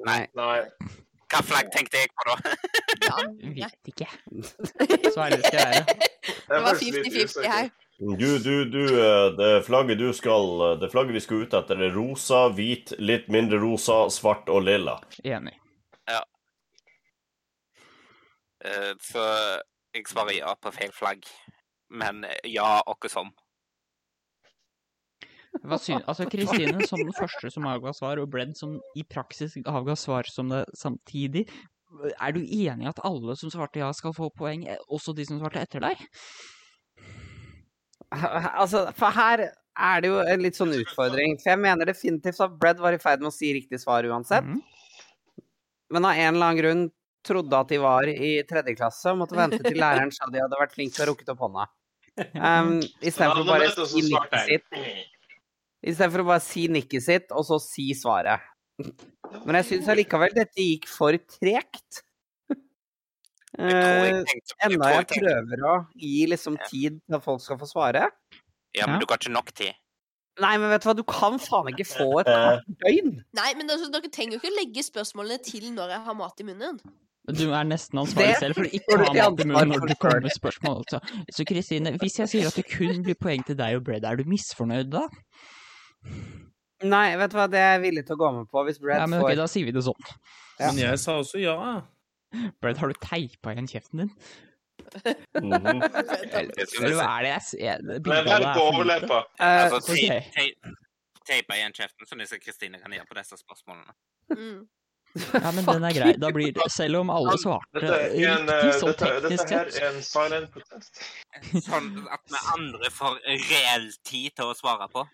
Speaker 2: Nei.
Speaker 4: Nei.
Speaker 3: Hva flagg tenkte jeg på da? <laughs>
Speaker 5: Ja, nei.
Speaker 1: vet ikke.
Speaker 5: <laughs>
Speaker 1: Så ærlig skal jeg være.
Speaker 5: Det var 50-50 her.
Speaker 6: Du, du, du, eh, det flagget du skal eh, Det flagget vi skal ut etter, er rosa, hvit, litt mindre rosa, svart og lilla.
Speaker 1: Enig.
Speaker 3: Eh, Så jeg svarer ja på feil flagg. Men eh, ja, åkke som.
Speaker 1: Hva syn- altså Kristine som den første som avga svar, og Bredd som i praksis avga svar som det samtidig. Er du enig i at alle som svarte ja, skal få poeng, eh, også de som svarte etter deg?
Speaker 2: <laughs> Altså, for her er det jo en litt sånn utfordring. For jeg mener definitivt at Bredd var i ferd med å si riktig svar uansett.
Speaker 1: Mhm.
Speaker 2: Men av en eller annen grunn trodde at de var i tredje klasse og måtte vente til læreren sa de hadde vært flink til å ha rukket opp hånda.
Speaker 1: Mm.
Speaker 2: Um, Istedenfor å bare si nikket sitt. I stedet for å bare si nikket sitt, og så si svaret. Men jeg syns allikevel dette gikk for tregt.
Speaker 3: Jeg tror
Speaker 2: Eh,
Speaker 3: jeg tenkte, jeg
Speaker 2: Enda
Speaker 3: tror
Speaker 2: jeg
Speaker 3: jeg tenkte
Speaker 2: prøver å gi liksom tid til at folk skal få svare.
Speaker 3: Ja, men du ga ikke nok tid.
Speaker 2: Nei, men vet du hva, du kan faen ikke få et kvart døgn!
Speaker 5: Nei, men altså, dere trenger jo ikke legge spørsmålene til når jeg har mat i
Speaker 1: <laughs>
Speaker 5: munnen.
Speaker 1: Du er nesten ansvarlig
Speaker 2: Det
Speaker 1: selv for å ikke
Speaker 2: får du
Speaker 1: ha
Speaker 2: til
Speaker 1: mat i munnen
Speaker 2: ansvar
Speaker 1: når du
Speaker 2: for
Speaker 1: kommer med spørsmål. Altså. Så Kristine, hvis jeg sier at det kun blir poeng til deg og Bredd, er du misfornøyd da?
Speaker 2: Nei, vet du hva, det er jeg villig til å gå med på hvis Brad
Speaker 1: Ja, men ok,
Speaker 2: får
Speaker 1: Da sier vi det sånn.
Speaker 2: Ja.
Speaker 7: Men jeg sa også ja.
Speaker 1: Bredd, har du teipa igjen kjeften din?
Speaker 6: Mhm.
Speaker 3: Det
Speaker 1: Eller
Speaker 3: skulle
Speaker 1: hva er det jeg ser?
Speaker 4: Men
Speaker 1: Bildet av
Speaker 4: vær
Speaker 1: deg er
Speaker 4: på
Speaker 1: for lite.
Speaker 4: overleppa.
Speaker 2: Eh,
Speaker 3: Altså, te-
Speaker 1: ok.
Speaker 3: te- Teipa igjen kjeften, som disse Kristine kan gjøre på disse spørsmålene.
Speaker 5: Mm.
Speaker 1: Ja, men den er grei. Da blir det, selv om alle svarte
Speaker 4: Dette er en,
Speaker 1: riktig
Speaker 4: eh,
Speaker 1: sånn
Speaker 4: dette, dette
Speaker 1: teknisk
Speaker 4: her
Speaker 1: sett
Speaker 4: er en silent protest.
Speaker 3: Sånn at vi andre får reell tid til å svare på.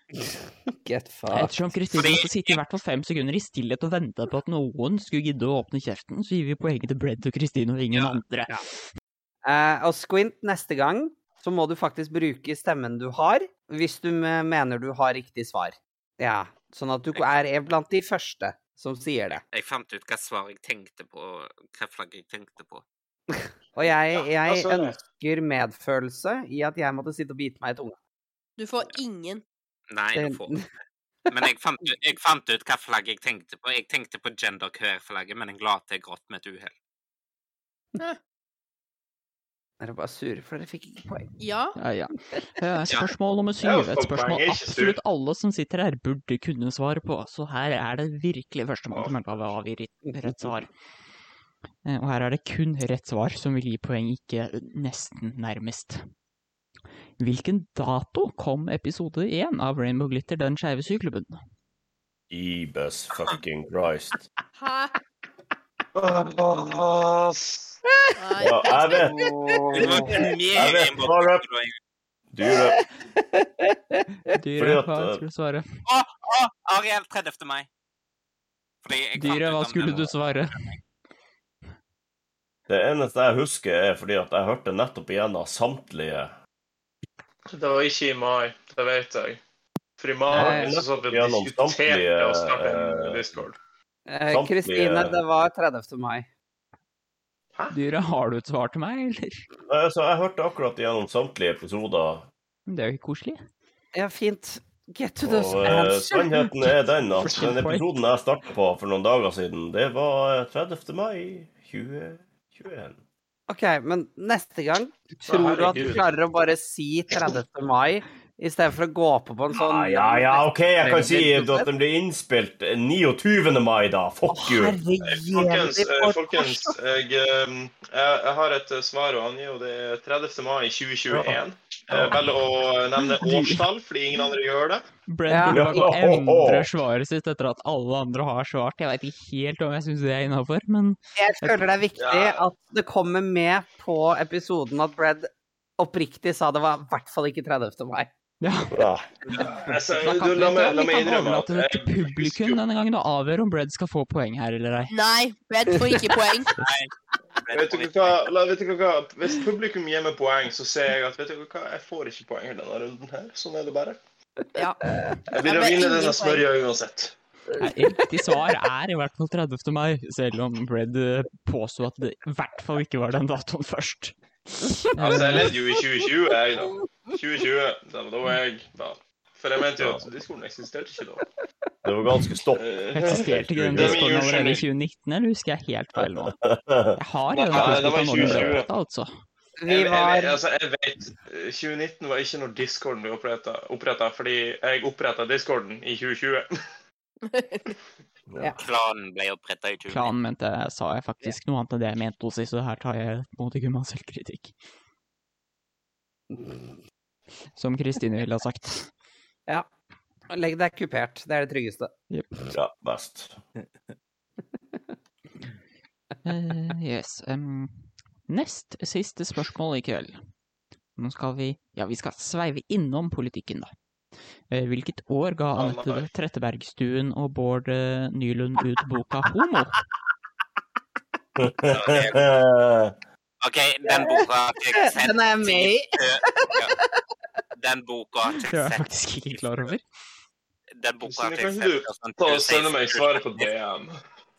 Speaker 2: Get fucked.
Speaker 1: Ettersom Kristine
Speaker 3: Fordi-
Speaker 1: måtte sitte i hvert fall fem sekunder i stillhet og vente på at noen skulle gidde å åpne kjeften, så gir vi poenget til Bredd og Kristine og ingen
Speaker 3: Ja.
Speaker 1: andre.
Speaker 2: Eh, og squint neste gang, så må du faktisk bruke stemmen du har, hvis du me- mener du har riktig svar. Ja, sånn at du er er blant de første som sier det.
Speaker 3: Jeg fant ut hva svar jeg tenkte på, og hva flagg jeg tenkte på.
Speaker 2: Og jeg,
Speaker 4: Ja,
Speaker 2: jeg
Speaker 4: altså,
Speaker 2: ønsker medfølelse i at jeg måtte sitte og bite meg i tunga.
Speaker 5: Du får ingen.
Speaker 3: Nei, du
Speaker 2: Det-
Speaker 3: får ikke. Men jeg fant, ut, jeg fant ut hva flagg jeg tenkte på. Jeg tenkte på genderqueer-flagget, men jeg la til grått med et uhell.
Speaker 2: Dere bare sure, for dere fikk ikke poeng.
Speaker 5: Ja.
Speaker 1: Ja, ja. Eh, Spørsmål nummer
Speaker 4: Ja,
Speaker 1: syv.
Speaker 4: for
Speaker 1: Et spørsmål
Speaker 4: poenget er ikke sur.
Speaker 1: absolutt alle som sitter her, burde kunne svare på, så her er det virkelig førstemann til mølla ved å avgi rett- rett svar. Eh, Og her er det kun rett svar som vil gi poeng, ikke nesten nærmest. Hvilken dato kom episode én av Rainbow Glitter, den skeive syklubben?
Speaker 6: <laughs> Ibis fucking Christ.
Speaker 5: Hæ? Nei,
Speaker 6: Ja, jeg vet.
Speaker 3: Du var ikke med
Speaker 6: Jeg
Speaker 3: i
Speaker 6: vet,
Speaker 3: en båt,
Speaker 6: bare-
Speaker 3: du var i-
Speaker 6: Dyret. Fordi
Speaker 1: Dyret,
Speaker 6: at,
Speaker 1: hva
Speaker 6: eh,
Speaker 1: skulle du svare?
Speaker 3: Ariel 30. mai. Fordi jeg fant
Speaker 1: Dyret,
Speaker 3: ut
Speaker 1: hva
Speaker 3: om
Speaker 1: skulle
Speaker 3: den-
Speaker 1: du svare?
Speaker 6: Det eneste jeg husker, er fordi at jeg hørte nettopp igjennom samtlige
Speaker 4: <laughs> Det var ikke i mai, det vet jeg. For i mai
Speaker 2: Nei,
Speaker 4: så satt vi og
Speaker 6: gjennom
Speaker 4: diskuterte
Speaker 6: samtlige,
Speaker 4: og snakket om
Speaker 6: eh,
Speaker 4: Discord.
Speaker 2: Eh, Kristine, det var 30. mai.
Speaker 1: Dyret, har du et svar til meg, eller?
Speaker 6: Nei, altså, Jeg hørte akkurat igjennom samtlige episoder,
Speaker 1: Men Det er jo ikke koselig.
Speaker 2: Ja, fint. Get to
Speaker 6: og
Speaker 2: those
Speaker 6: eh,
Speaker 2: answers.
Speaker 6: sannheten er den at
Speaker 1: Forstår
Speaker 6: den
Speaker 1: point.
Speaker 6: episoden jeg starta på for noen dager siden, det var eh, 30. mai 2021.
Speaker 2: OK, men neste gang, tror du at du
Speaker 4: herregud.
Speaker 2: klarer å bare si 30. mai i stedet for å gå på på en sånn
Speaker 6: Ja, ja, ja, OK, jeg kan si at den blir innspilt eh, 29. mai, da. Fuck you.
Speaker 4: Folkens, eh,
Speaker 2: Herregud.
Speaker 4: folkens jeg, eh, jeg, jeg har et eh, svar å angi, og det er 30. mai 2021. Jeg velger å nevne årstall, fordi ingen andre gjør det.
Speaker 2: Ja.
Speaker 1: Brent ja.
Speaker 4: <laughs>
Speaker 6: Ja.
Speaker 1: endrer svaret sitt etter at alle andre har svart. Jeg veit ikke helt om jeg syns det er innafor, men
Speaker 2: Jeg føler det er viktig
Speaker 4: Ja.
Speaker 2: at det kommer med på episoden at Brad oppriktig sa det var i hvert fall ikke 30. mai.
Speaker 1: ja.
Speaker 6: Ja.
Speaker 4: Altså,
Speaker 1: Da
Speaker 4: du,
Speaker 1: kan,
Speaker 4: la, meg, la
Speaker 1: vi
Speaker 4: meg
Speaker 1: kan
Speaker 4: innrømme
Speaker 1: overlate det
Speaker 4: at
Speaker 1: til
Speaker 4: jeg husker
Speaker 1: publikum
Speaker 4: jo-
Speaker 1: denne gangen og avgjøre om Bredd skal få poeng her eller ei.
Speaker 5: Nei, Brad får ikke
Speaker 4: <laughs>
Speaker 5: poeng.
Speaker 4: Vet dere hva, la, vet dere hva, Hvis publikum gir meg poeng, så ser jeg at vet dere hva, jeg får ikke poeng i denne runden her. Sånn er det bare.
Speaker 5: Ja.
Speaker 4: Jeg blir å
Speaker 5: men
Speaker 4: vinne
Speaker 5: ingen
Speaker 4: denne
Speaker 5: poeng.
Speaker 4: smørja uansett.
Speaker 1: Nei, Riktig svar er i hvert fall 30. mai, selv om Bredd påsto at det i hvert fall ikke var den datoen først.
Speaker 4: Altså, jeg levde jo i 2020, jeg, da. 2020, da var da var jeg da. For jeg mente jo at diskoen eksisterte ikke da.
Speaker 6: Det var ganske stopp.
Speaker 4: Eh,
Speaker 1: Eksisterte ikke den
Speaker 4: Det er min
Speaker 1: discorden allerede i
Speaker 4: unnskyldning.
Speaker 1: 2019, eller husker jeg helt feil nå? Jeg har
Speaker 4: Nei,
Speaker 1: jo den
Speaker 4: nei, det
Speaker 1: discorden når
Speaker 4: var i
Speaker 1: den ble
Speaker 4: 2020.
Speaker 1: opprettet, altså.
Speaker 2: Vi
Speaker 4: Jeg-
Speaker 2: var
Speaker 4: jeg, altså, jeg vet, eh, 2019 var ikke når discorden ble oppretta- oppretta, fordi jeg oppretta discorden i 2020.
Speaker 3: Klanen ble oppretta i 2019.
Speaker 1: Klanen mente jeg sa jeg faktisk noe annet enn det jeg mente også, så her tar jeg på en måte ikke med selvkritikk. Som Kristine ville ha sagt.
Speaker 2: Legg deg kupert. Det er det tryggeste.
Speaker 6: <laughs> Ja, best.
Speaker 1: <laughs> Eh, yes. em, nest siste spørsmål i kveld. Nå skal vi Ja, vi skal sveive innom politikken, da. Eh, Hvilket år ga
Speaker 4: Ja, la
Speaker 1: Anette
Speaker 4: meg.
Speaker 1: Trettebergstuen og Bård eh, Nylund ut boka Homo?
Speaker 3: OK, den boka har ikke jeg sett.
Speaker 2: Den er jeg med i.
Speaker 3: Ja. Den boka har
Speaker 1: Det var
Speaker 3: ikke jeg
Speaker 1: jeg
Speaker 3: sett.
Speaker 1: faktisk ikke klar over.
Speaker 3: Den boka har ikke jeg
Speaker 4: Kristine, kan
Speaker 3: sett.
Speaker 4: ikke du
Speaker 3: Sånn
Speaker 4: Ta og Send meg
Speaker 3: 2016.
Speaker 4: svaret på DM.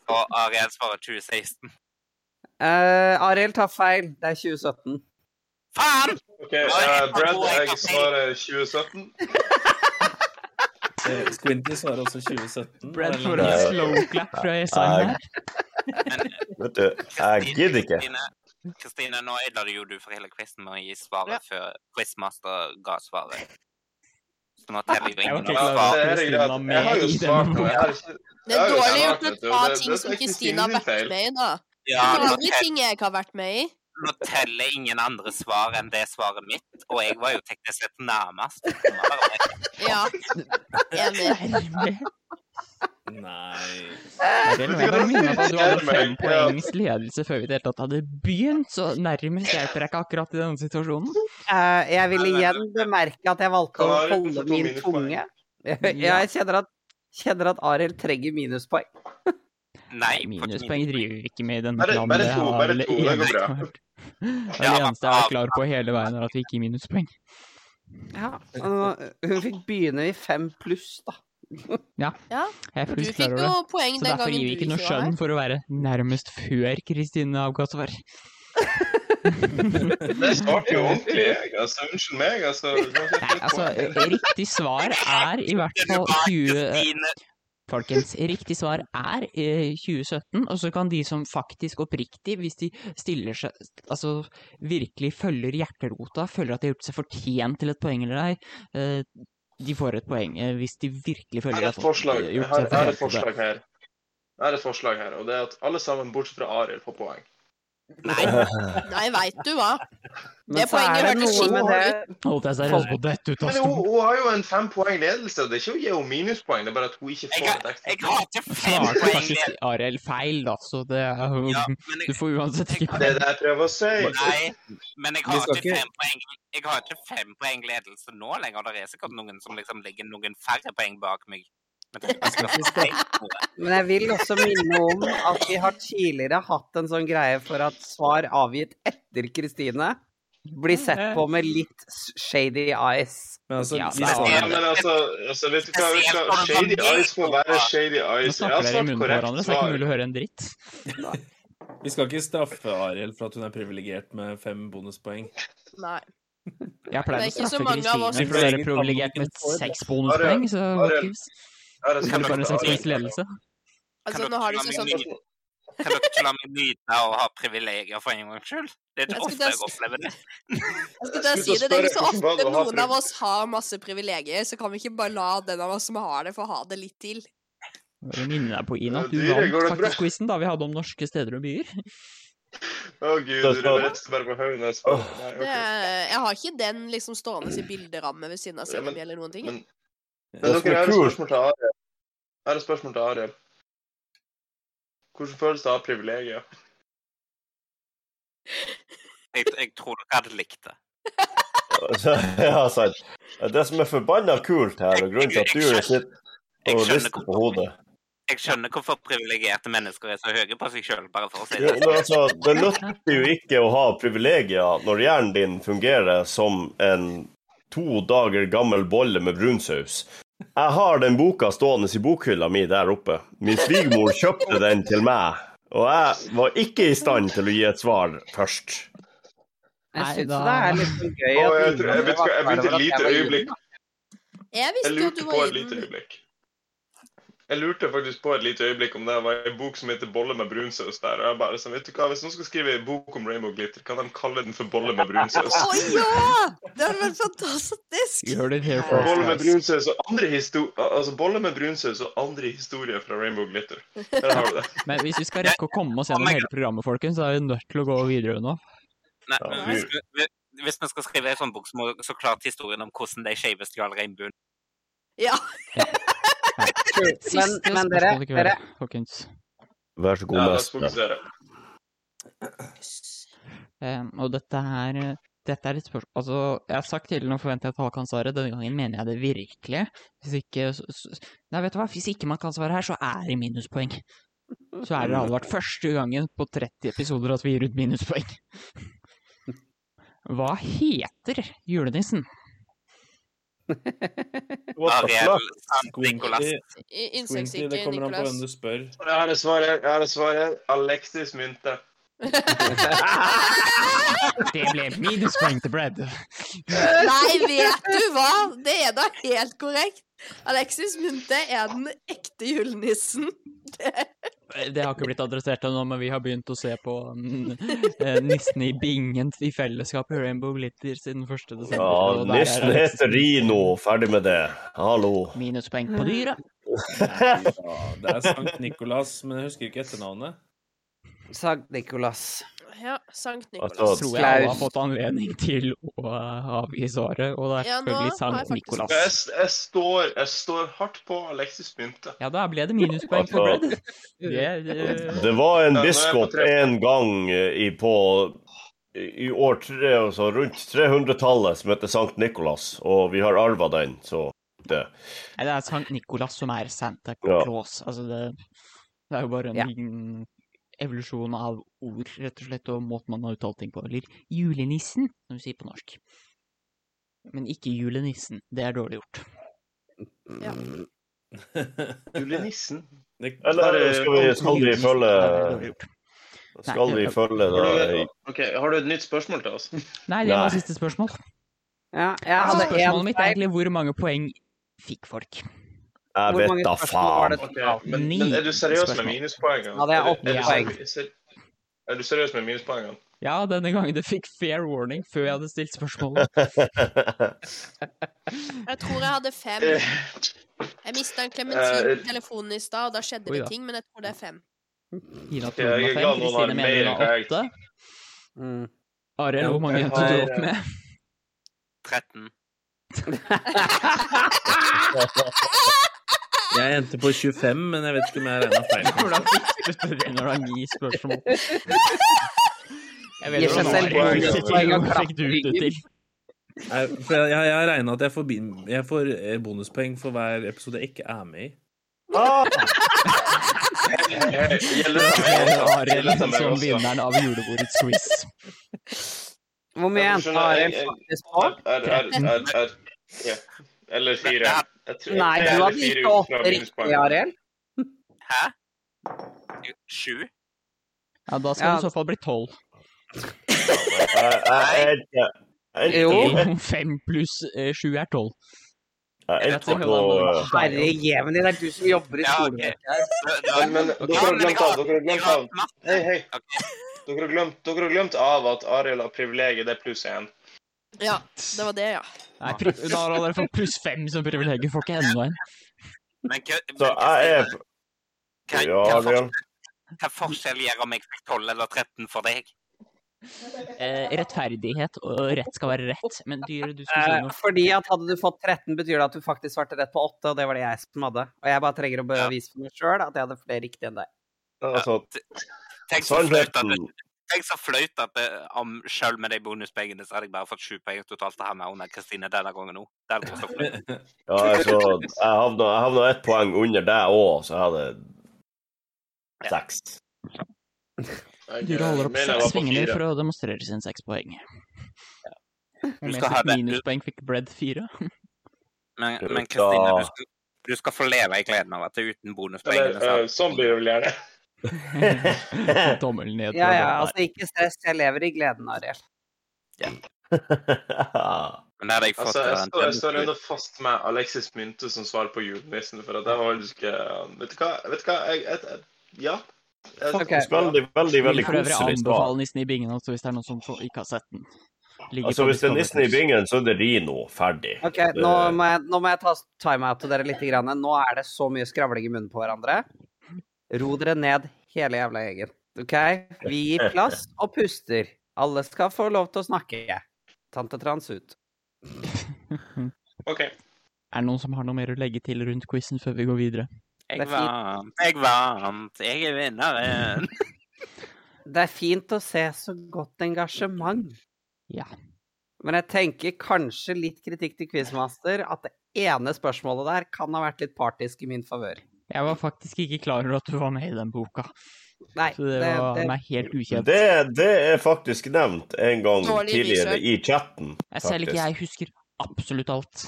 Speaker 3: Og Ariel svarer 2016.
Speaker 2: Eh, Ariel tar feil. Det er 2017.
Speaker 3: Faen!
Speaker 4: Ok, eh, Brad, jeg svarer 2017.
Speaker 7: Eh, Squinty svarer også 2017.
Speaker 1: Brad
Speaker 7: eller-
Speaker 1: får en slow clap fra Esheim her.
Speaker 6: Vet du, jeg gidder ikke. <laughs>
Speaker 3: Kristine- Kristine, nå ødela jo du for hele quizen med å gi svaret før quizmaster ga svaret. Så nå teller jo
Speaker 1: Jeg var
Speaker 3: ingen
Speaker 1: ikke
Speaker 3: av
Speaker 1: klar
Speaker 4: Ja,
Speaker 1: over at
Speaker 3: svarene.
Speaker 4: det er greit.
Speaker 1: Kristina
Speaker 4: Jeg har
Speaker 1: med
Speaker 4: jo
Speaker 1: i
Speaker 4: svart
Speaker 1: denne
Speaker 4: på det.
Speaker 1: boka.
Speaker 4: Jeg har ikke-
Speaker 5: Det er dårlig gjort å ta
Speaker 4: Det- det-
Speaker 5: ting
Speaker 4: det
Speaker 5: som
Speaker 4: er
Speaker 5: Kristina har
Speaker 4: Kristine sin
Speaker 5: vært
Speaker 4: feil.
Speaker 5: med i, da.
Speaker 3: Ja,
Speaker 5: Det er
Speaker 3: nå
Speaker 5: andre ting jeg har vært med i.
Speaker 3: Nå teller ingen andre svar enn det svaret mitt, og jeg var jo teknisk sett nærmest. Bare
Speaker 5: Ja.
Speaker 1: <laughs>
Speaker 5: Enig.
Speaker 1: Nærmere.
Speaker 7: Nei.
Speaker 1: Arild, Jeg bare minner på at du hadde fem
Speaker 4: Nærmere, ja.
Speaker 1: poengs ledelse før vi i det hele tatt hadde begynt, så nærmest hjelper jeg ikke akkurat i denne situasjonen.
Speaker 2: Eh, jeg vil igjen bemerke at jeg valgte å
Speaker 4: Kan Arild få
Speaker 2: holde
Speaker 4: to
Speaker 2: min
Speaker 4: minuspoeng?
Speaker 2: tunge. <laughs> Jeg kjenner at, kjenner at Arild trenger minuspoeng.
Speaker 1: <laughs>
Speaker 3: Nei, for
Speaker 1: Minuspoeng driver vi ikke med i denne
Speaker 4: Bare-
Speaker 1: planen.
Speaker 4: bare
Speaker 1: det
Speaker 4: to,
Speaker 1: har
Speaker 4: bare
Speaker 1: alle
Speaker 4: to, det går
Speaker 1: enighet
Speaker 4: bra.
Speaker 1: om. Det er det eneste jeg er klar på hele veien, er at vi ikke gir minuspoeng.
Speaker 2: Ja, og nå- hun fikk begynne i fem pluss, da.
Speaker 1: Jeg er
Speaker 5: For du
Speaker 1: fullt
Speaker 5: fikk
Speaker 1: klar
Speaker 5: jo
Speaker 1: over det.
Speaker 5: poeng
Speaker 1: Så
Speaker 5: den
Speaker 1: derfor
Speaker 5: gangen
Speaker 1: gir vi
Speaker 5: du
Speaker 1: ikke
Speaker 5: ikke
Speaker 1: noe
Speaker 5: var
Speaker 1: skjønn
Speaker 5: her.
Speaker 1: for å være nærmest før Kristine avga svar.
Speaker 4: Det svarte jo ordentlig jeg. Altså, unnskyld meg, altså.
Speaker 1: Nei, altså, riktig svar er i hvert
Speaker 3: Det
Speaker 1: fall
Speaker 3: var
Speaker 1: 20
Speaker 3: Kristine
Speaker 1: Folkens, riktig svar er eh, 2017, og så kan de som faktisk oppriktig, hvis de stiller seg Altså virkelig følger hjerterota, føler at de har gjort seg fortjent til et poeng eller ei, eh, de får et poeng eh, hvis de virkelig
Speaker 4: Jeg
Speaker 1: føler
Speaker 4: har
Speaker 1: at
Speaker 4: et forslag.
Speaker 1: de har
Speaker 4: Jeg
Speaker 1: gjort
Speaker 4: har,
Speaker 1: seg
Speaker 4: jeg har et
Speaker 1: fortjent til det.
Speaker 4: forslag her. Jeg har et forslag her, og det er at alle sammen bortsett fra Arild får poeng.
Speaker 5: Nei, nei veit du hva.
Speaker 2: Men
Speaker 5: Det
Speaker 2: så er
Speaker 5: poenget
Speaker 2: det
Speaker 5: hørtes
Speaker 2: noe med
Speaker 5: skikkelig
Speaker 2: det
Speaker 1: Holdt jeg seriøst på å dette ut av
Speaker 4: Men hun,
Speaker 1: stolen?
Speaker 4: hun har jo en fem poeng ledelse. Det er ikke å gi henne minuspoeng, det er bare at hun ikke får
Speaker 3: Jeg,
Speaker 4: et ekstra
Speaker 3: jeg har ikke fem
Speaker 1: Svarte
Speaker 3: poeng.
Speaker 1: faktisk
Speaker 3: ned.
Speaker 1: Ariel feil, da, så det er jo
Speaker 3: Ja, men
Speaker 1: <laughs> Du
Speaker 3: jeg,
Speaker 1: får uansett ikke
Speaker 4: Det er det jeg prøver å si.
Speaker 3: nei, men jeg
Speaker 2: Vi
Speaker 3: har
Speaker 2: skal
Speaker 3: ikke
Speaker 2: ikke-
Speaker 3: fem poeng. Jeg har ikke fem poeng ledelse nå lenger. Det er sikkert noen som liksom ligger noen færre poeng bak meg. Men det er
Speaker 2: Vi skal-
Speaker 3: ikke
Speaker 2: Men jeg vil også minne om at vi har tidligere hatt en sånn greie for at svar avgitt etter Kristine blir sett på med litt s- shady eyes.
Speaker 7: Men altså,
Speaker 1: Ja,
Speaker 7: vi
Speaker 1: det er-
Speaker 7: sa
Speaker 4: Ja, men altså, altså vet du hva, vet du hva? Shady Eyes må være
Speaker 3: Altså,
Speaker 4: Shady
Speaker 1: Nå
Speaker 4: Eyes. Jeg
Speaker 1: snakker
Speaker 4: har
Speaker 1: dere i
Speaker 4: svart
Speaker 1: munnen på hverandre,
Speaker 4: korrekt
Speaker 1: så det er ikke
Speaker 4: svar.
Speaker 1: mulig å høre en dritt.
Speaker 7: Vi skal ikke straffe Ariel for at hun er privilegert med fem bonuspoeng.
Speaker 5: Nei.
Speaker 1: Jeg pleier å
Speaker 5: Det er ikke så
Speaker 1: straffe
Speaker 5: mange av oss
Speaker 1: Kristine
Speaker 7: som
Speaker 1: for å være
Speaker 7: trenger
Speaker 1: privilegert med
Speaker 7: tannlegen for det.
Speaker 1: seks bonuspoeng, så
Speaker 4: Ariel, Jeg har
Speaker 1: Kanskje bare en
Speaker 4: svart
Speaker 1: slags vis
Speaker 4: korrekt.
Speaker 1: ledelse.
Speaker 5: Altså, nå har de sånn sånn
Speaker 3: Kan dere ikke la meg nyte å ha privilegier for en gangs skyld? Det er
Speaker 5: Jeg
Speaker 3: ikke
Speaker 5: skulle
Speaker 3: ofte
Speaker 5: bare
Speaker 3: jeg opplever det.
Speaker 5: Jeg skulle til å si
Speaker 4: Slutt å
Speaker 5: det. Det er ikke
Speaker 4: spørre
Speaker 5: så
Speaker 4: hvordan
Speaker 5: ofte
Speaker 4: valget har
Speaker 5: noen av oss har masse privilegier, så kan vi ikke bare la den av oss som har det, få ha det litt til.
Speaker 1: Jeg vil minne deg på, Ina, at du
Speaker 4: Dyre, går
Speaker 1: vant
Speaker 4: det bra?
Speaker 1: faktisk quizen da vi hadde om norske steder og byer.
Speaker 4: Å gud, du retter bare på hodet når jeg spør. Nei,
Speaker 5: Det,
Speaker 4: ok.
Speaker 5: jeg har ikke den liksom stående i bilderamme ved siden av
Speaker 4: Ja, men-
Speaker 5: Silje eller noen ting.
Speaker 4: men-
Speaker 6: Det
Speaker 4: Men
Speaker 6: som
Speaker 4: dere, jeg
Speaker 6: er
Speaker 4: har et
Speaker 6: kult
Speaker 4: spørsmål til Ariel. Jeg har et spørsmål til Ariel. Hvordan føles det å ha privilegier?
Speaker 3: Jeg, jeg tror dere hadde likt det.
Speaker 6: Ja, sant. Det som er forbanna kult her, og grunnen til at du sitter
Speaker 3: Jeg
Speaker 6: og
Speaker 3: skjønner,
Speaker 6: rister på hodet
Speaker 3: jeg skjønner hvorfor privilegerte mennesker er så høye på seg sjøl, bare for å si
Speaker 6: Jo,
Speaker 3: det.
Speaker 6: men altså, det nytter jo ikke å ha privilegier når hjernen din fungerer som en to dager gammel bolle med brunsaus. Jeg har den boka stående i bokhylla mi der oppe. Min svigermor kjøpte den til meg, og jeg var ikke i stand til å gi et svar først.
Speaker 2: Jeg
Speaker 1: Nei,
Speaker 2: syns
Speaker 1: da-
Speaker 2: det er litt sånn gøy
Speaker 4: Å,
Speaker 2: at
Speaker 4: jeg, tror, jeg,
Speaker 2: ingen
Speaker 4: vet ikke hva, jeg
Speaker 2: var klar
Speaker 4: begynte
Speaker 2: over
Speaker 4: et
Speaker 2: at jeg
Speaker 4: lite
Speaker 2: var
Speaker 4: øyeblikk.
Speaker 5: Jeg
Speaker 4: Jeg
Speaker 5: visste jo at
Speaker 4: lurte
Speaker 5: du
Speaker 4: på
Speaker 5: var
Speaker 4: et
Speaker 5: i
Speaker 4: lite
Speaker 5: den.
Speaker 4: øyeblikk. Jeg lurte faktisk på et lite øyeblikk om det var en bok som heter 'Bolle med brunsaus' der. Og jeg bare sånn, vet du hva, Hvis noen skal skrive en bok om Rainbow Glitter, kan de kalle den for 'Bolle med
Speaker 5: Å
Speaker 4: brunsaus'?
Speaker 5: ja! Det hadde vært fantastisk!
Speaker 1: You heard it here
Speaker 4: Bolle med
Speaker 1: first. guys.
Speaker 4: brunsaus og andre histo- altså bolle med brunsaus og andre historier fra Rainbow Glitter. Der har du det.
Speaker 1: Men hvis vi skal rekke å komme oss gjennom
Speaker 3: my
Speaker 1: hele programmet, folkens, så er vi nødt til å gå videre nå.
Speaker 3: Nei,
Speaker 6: Ja,
Speaker 3: men
Speaker 6: du-
Speaker 3: hvis, vi- hvis vi skal skrive en sånn bok, så må så klart historien om hvordan de skeive stjal regnbuen.
Speaker 5: Ja.
Speaker 2: Kult. Men,
Speaker 1: Siste
Speaker 2: men dere,
Speaker 1: spørsmål i kveld,
Speaker 2: dere
Speaker 1: folkens.
Speaker 6: Vær så
Speaker 4: Ja,
Speaker 6: god,
Speaker 4: la oss
Speaker 6: mester.
Speaker 4: fokusere.
Speaker 1: Eh, og dette her dette er et spørsmål Altså, jeg har sagt tidligere nå forventer jeg at alle kan svare. Denne gangen mener jeg det virkelig. Hvis ikke så, så, Nei, vet du hva, hvis ikke man kan svare her, så er det minuspoeng. Så er det advart første gangen på 30 episoder at vi gir ut minuspoeng. Hva heter julenissen?
Speaker 6: What the
Speaker 3: Ariel,
Speaker 6: fuck?
Speaker 3: San Nicolas.
Speaker 5: I-
Speaker 7: Squinty, Squinty,
Speaker 5: Insektsyke,
Speaker 7: det kommer an på hvem du
Speaker 5: Nicholas.
Speaker 7: spør.
Speaker 4: Jeg har et svar her. Jeg har et svar her. Alexis Mynte.
Speaker 1: Det ble minuspoeng til Brad.
Speaker 5: Nei, vet du hva? Det er da helt korrekt. Alexis Munthe er den ekte julenissen.
Speaker 1: Det har ikke blitt adressert ennå, men vi har begynt å se på mm, eh, nissen i bingen i fellesskap i Rainbow Glitter siden 1. desember.
Speaker 6: Ja,
Speaker 1: og der er
Speaker 6: nissen
Speaker 1: det
Speaker 6: heter Rino. Ferdig med det. Hallo.
Speaker 1: Minuspoeng
Speaker 5: Mm.
Speaker 1: på dyret.
Speaker 7: Ja, det er Sankt Nikolas, men jeg husker ikke etternavnet. <laughs>
Speaker 2: Sankt Nikolas.
Speaker 5: Ja, Sankt
Speaker 6: Altså,
Speaker 5: Nikolas.
Speaker 1: Tror jeg alle har
Speaker 2: Klaus.
Speaker 1: fått anledning til å eh, avgi svaret, og det er
Speaker 5: Ja, nå
Speaker 1: selvfølgelig
Speaker 5: har jeg
Speaker 1: Sankt
Speaker 5: faktisk-
Speaker 4: Jeg,
Speaker 1: Nikolas.
Speaker 4: jeg, står, jeg står hardt på Alexis Mynte.
Speaker 1: Ja, da ble det minuspoeng for Brad. Det, eh,
Speaker 6: Det var en
Speaker 4: Ja, nå er jeg
Speaker 6: biskop
Speaker 4: på tre.
Speaker 6: en gang eh, i, på i år tre, altså rundt 300-tallet som heter Sankt Nikolas, og vi har arva den, så det.
Speaker 1: nei, det er Sankt Nikolas som er Santa
Speaker 6: Ja.
Speaker 1: Claus. Altså, det, det er jo bare en
Speaker 2: Ja.
Speaker 1: liten evolusjon av ord, rett og slett, og måten man har uttalt ting på. Eller julenissen, som vi sier på norsk. Men ikke julenissen. Det er dårlig gjort.
Speaker 5: Ja.
Speaker 4: Julenissen.
Speaker 7: Det,
Speaker 6: Eller skal, vi, skal de
Speaker 1: Julenissen,
Speaker 6: følge
Speaker 1: det er dårlig gjort.
Speaker 6: Skal de følge da
Speaker 4: Har du, ok, har du et nytt spørsmål til oss?
Speaker 1: Nei, det var
Speaker 6: Nei.
Speaker 1: siste spørsmål.
Speaker 2: Ja, jeg hadde
Speaker 1: Spørsmålet
Speaker 2: én
Speaker 1: mitt er
Speaker 2: feil.
Speaker 1: egentlig hvor mange poeng fikk folk?
Speaker 6: Jeg
Speaker 2: Hvor
Speaker 6: vet
Speaker 2: mange
Speaker 6: da
Speaker 2: spørsmål var
Speaker 6: faen.
Speaker 2: det?
Speaker 4: Ok, men, men er du seriøs med minuspoengene?
Speaker 2: Ja, det er
Speaker 4: Er du-
Speaker 2: åtte
Speaker 4: er du
Speaker 1: poeng.
Speaker 4: seri- ser- Er du seriøs med minuspoengene?
Speaker 1: Ja, denne gangen det fikk fair warning før jeg hadde stilt spørsmålet.
Speaker 5: Jeg tror jeg hadde fem.
Speaker 4: Eh,
Speaker 5: Jeg mista en klementin på
Speaker 4: Eh,
Speaker 5: telefonen i stad, og da skjedde
Speaker 1: Oi
Speaker 5: det
Speaker 1: da.
Speaker 5: ting, men jeg tror det er fem.
Speaker 4: <laughs>
Speaker 1: Ina
Speaker 4: Jeg er
Speaker 1: Torunn har fem,
Speaker 4: glad noen har
Speaker 1: Kristine mener hun
Speaker 4: mer
Speaker 1: har
Speaker 4: enn jeg.
Speaker 1: åtte.
Speaker 2: Mm.
Speaker 1: Arild, hvor mange
Speaker 7: Jeg
Speaker 1: jenter du
Speaker 7: har-
Speaker 2: eh,
Speaker 1: opp med? <laughs>
Speaker 3: 13.
Speaker 7: Jeg endte på 25, men jeg vet ikke om jeg regna feil.
Speaker 1: Hvordan fikk du det når du har ni
Speaker 2: <laughs>
Speaker 1: spørsmål? Jeg
Speaker 2: Gi
Speaker 1: vet ikke
Speaker 2: seg
Speaker 1: om Arild
Speaker 2: selv poeng, altså.
Speaker 1: fikk
Speaker 2: poeng
Speaker 1: det,
Speaker 2: og
Speaker 1: hvor
Speaker 2: klapp
Speaker 1: fikk
Speaker 2: i
Speaker 1: du det
Speaker 2: ryggen.
Speaker 1: til?
Speaker 7: Nei, for jeg, jeg, jeg regna at jeg får, bin- jeg får eh, bonuspoeng for hver episode jeg ikke er med i.
Speaker 4: Gjelder det meg også? Gjelder
Speaker 1: Arild
Speaker 4: det meg
Speaker 1: som
Speaker 4: også?
Speaker 1: vinneren av julebordets quiz.
Speaker 2: Hvor mye
Speaker 4: Jeg
Speaker 2: jenter
Speaker 4: skjønner,
Speaker 2: har
Speaker 4: jeg-
Speaker 2: jeg
Speaker 4: jeg-
Speaker 2: faktisk på?
Speaker 4: R, R, R, R. Ja. Eller fire. Jeg tror-
Speaker 2: Nei,
Speaker 4: tre
Speaker 2: du
Speaker 4: eller
Speaker 2: hadde
Speaker 4: fire
Speaker 2: ikke
Speaker 4: ut fra
Speaker 2: åtte riktig,
Speaker 4: minuspoeng.
Speaker 2: Arild.
Speaker 3: Hæ? 7?
Speaker 1: Ja, da skal
Speaker 2: Ja.
Speaker 1: det i så fall bli tolv.
Speaker 6: <laughs> Jeg- jeg endte- jeg endte
Speaker 2: Jo.
Speaker 6: på-
Speaker 1: Fem pluss eh, sju er tolv.
Speaker 6: jeg endte på eh,
Speaker 2: Herre jevni, det er du som jobber i
Speaker 3: Ja, ok.
Speaker 2: skolen. her.
Speaker 4: Men, men dere har glemt av, dere har glemt av. Hei, hei.
Speaker 3: Ok.
Speaker 4: Dere har glemt, dere har glemt av at Arild har privilegiet, det er pluss én.
Speaker 5: Ja, det var det, ja.
Speaker 1: Nei, pri- da har dere fått pluss fem som privilegium. Får ikke enda en.
Speaker 3: Men hva,
Speaker 6: Så jeg er
Speaker 3: hva,
Speaker 6: Ja,
Speaker 3: hva,
Speaker 6: Adrian.
Speaker 3: forskjell- hva forskjell gjør om jeg fikk 12 eller 13 for deg?
Speaker 1: Eh, rettferdighet og rett skal være rett. Men Dyre, du skulle si
Speaker 2: Eh,
Speaker 1: noe.
Speaker 2: Fordi at hadde du fått 13, betyr det at du faktisk svarte rett på 8, og det var det jeg som hadde. Og jeg bare trenger å bevise for meg sjøl at jeg hadde flere riktige enn deg.
Speaker 6: Altså,
Speaker 3: Tenk så flaut at
Speaker 6: sannheten
Speaker 3: det, tenk så flaut at det, om selv med de bonuspengene så hadde jeg bare fått 7 poeng totalt av meg under Kristine denne gangen òg. Det hadde vært så flaut.
Speaker 6: Ja, altså, jeg havna, jeg havna ett poeng under deg òg, så jeg hadde seks.
Speaker 4: Jeg,
Speaker 1: Dyre holder
Speaker 4: mener jeg
Speaker 1: opp
Speaker 4: var på
Speaker 1: svingene
Speaker 4: fire.
Speaker 1: for å demonstrere sine seks poeng. Om jeg
Speaker 3: skal ha
Speaker 1: fikk
Speaker 3: det.
Speaker 1: minuspoeng, fikk Bred
Speaker 6: <laughs>
Speaker 1: fire.
Speaker 3: Men,
Speaker 6: Ja.
Speaker 3: men Kristine, du, skal- du skal få leve i gleden av at det er uten bonuspengene.
Speaker 4: Eller, eh,
Speaker 3: så-
Speaker 4: zombie vil gjerne.
Speaker 1: Tommelen ned.
Speaker 2: Ja, ja, altså ikke stress, jeg lever i gleden, Ariel.
Speaker 3: Men det hadde jeg fått eh,
Speaker 4: Altså, jeg,
Speaker 3: garantert.
Speaker 4: står, jeg står ennå fast med Alexis Mynte som svar på julenissen, for at jeg har faktisk ikke Vet du hva? Vet du hva? Jeg, jeg, jeg, ja. Jeg,
Speaker 2: Ok.
Speaker 6: Veldig, veldig
Speaker 1: Vil
Speaker 6: veldig
Speaker 1: for øvrig
Speaker 6: koselig
Speaker 1: anbefale
Speaker 6: svar.
Speaker 1: Nissen i bingen også, hvis det er noen som får- ikke har sett den. Ligger
Speaker 6: Altså,
Speaker 1: på
Speaker 6: hvis det er
Speaker 1: Discovery
Speaker 6: nissen i
Speaker 1: Plus.
Speaker 6: bingen, så er det Rino. Ferdig.
Speaker 2: Ok, nå må jeg, nå må jeg ta timeout til dere litt. Grann. Nå er det så mye skravling i munnen på hverandre. Ro dere ned, hele jævla gjengen. OK? Vi gir plass og puster. Alle skal få lov til å snakke. Tante Trans ut.
Speaker 4: OK.
Speaker 1: Er det noen som har noe mer å legge til rundt quizen før vi går videre?
Speaker 2: Det
Speaker 3: Jeg
Speaker 2: er fint.
Speaker 3: vant, jeg vant, jeg er vinneren.
Speaker 2: Det er fint å se så godt engasjement.
Speaker 1: Ja.
Speaker 2: Men jeg tenker kanskje litt kritikk til Quizmaster at det ene spørsmålet der kan ha vært litt partisk i min favør.
Speaker 1: Jeg var faktisk ikke klar over at du var med i den boka,
Speaker 2: Nei,
Speaker 1: så det var meg helt ukjent.
Speaker 6: Det, det er faktisk nevnt en gang
Speaker 5: Dårlig
Speaker 6: tidligere i chatten.
Speaker 1: Jeg- Selv ikke
Speaker 6: faktisk.
Speaker 1: jeg husker absolutt alt.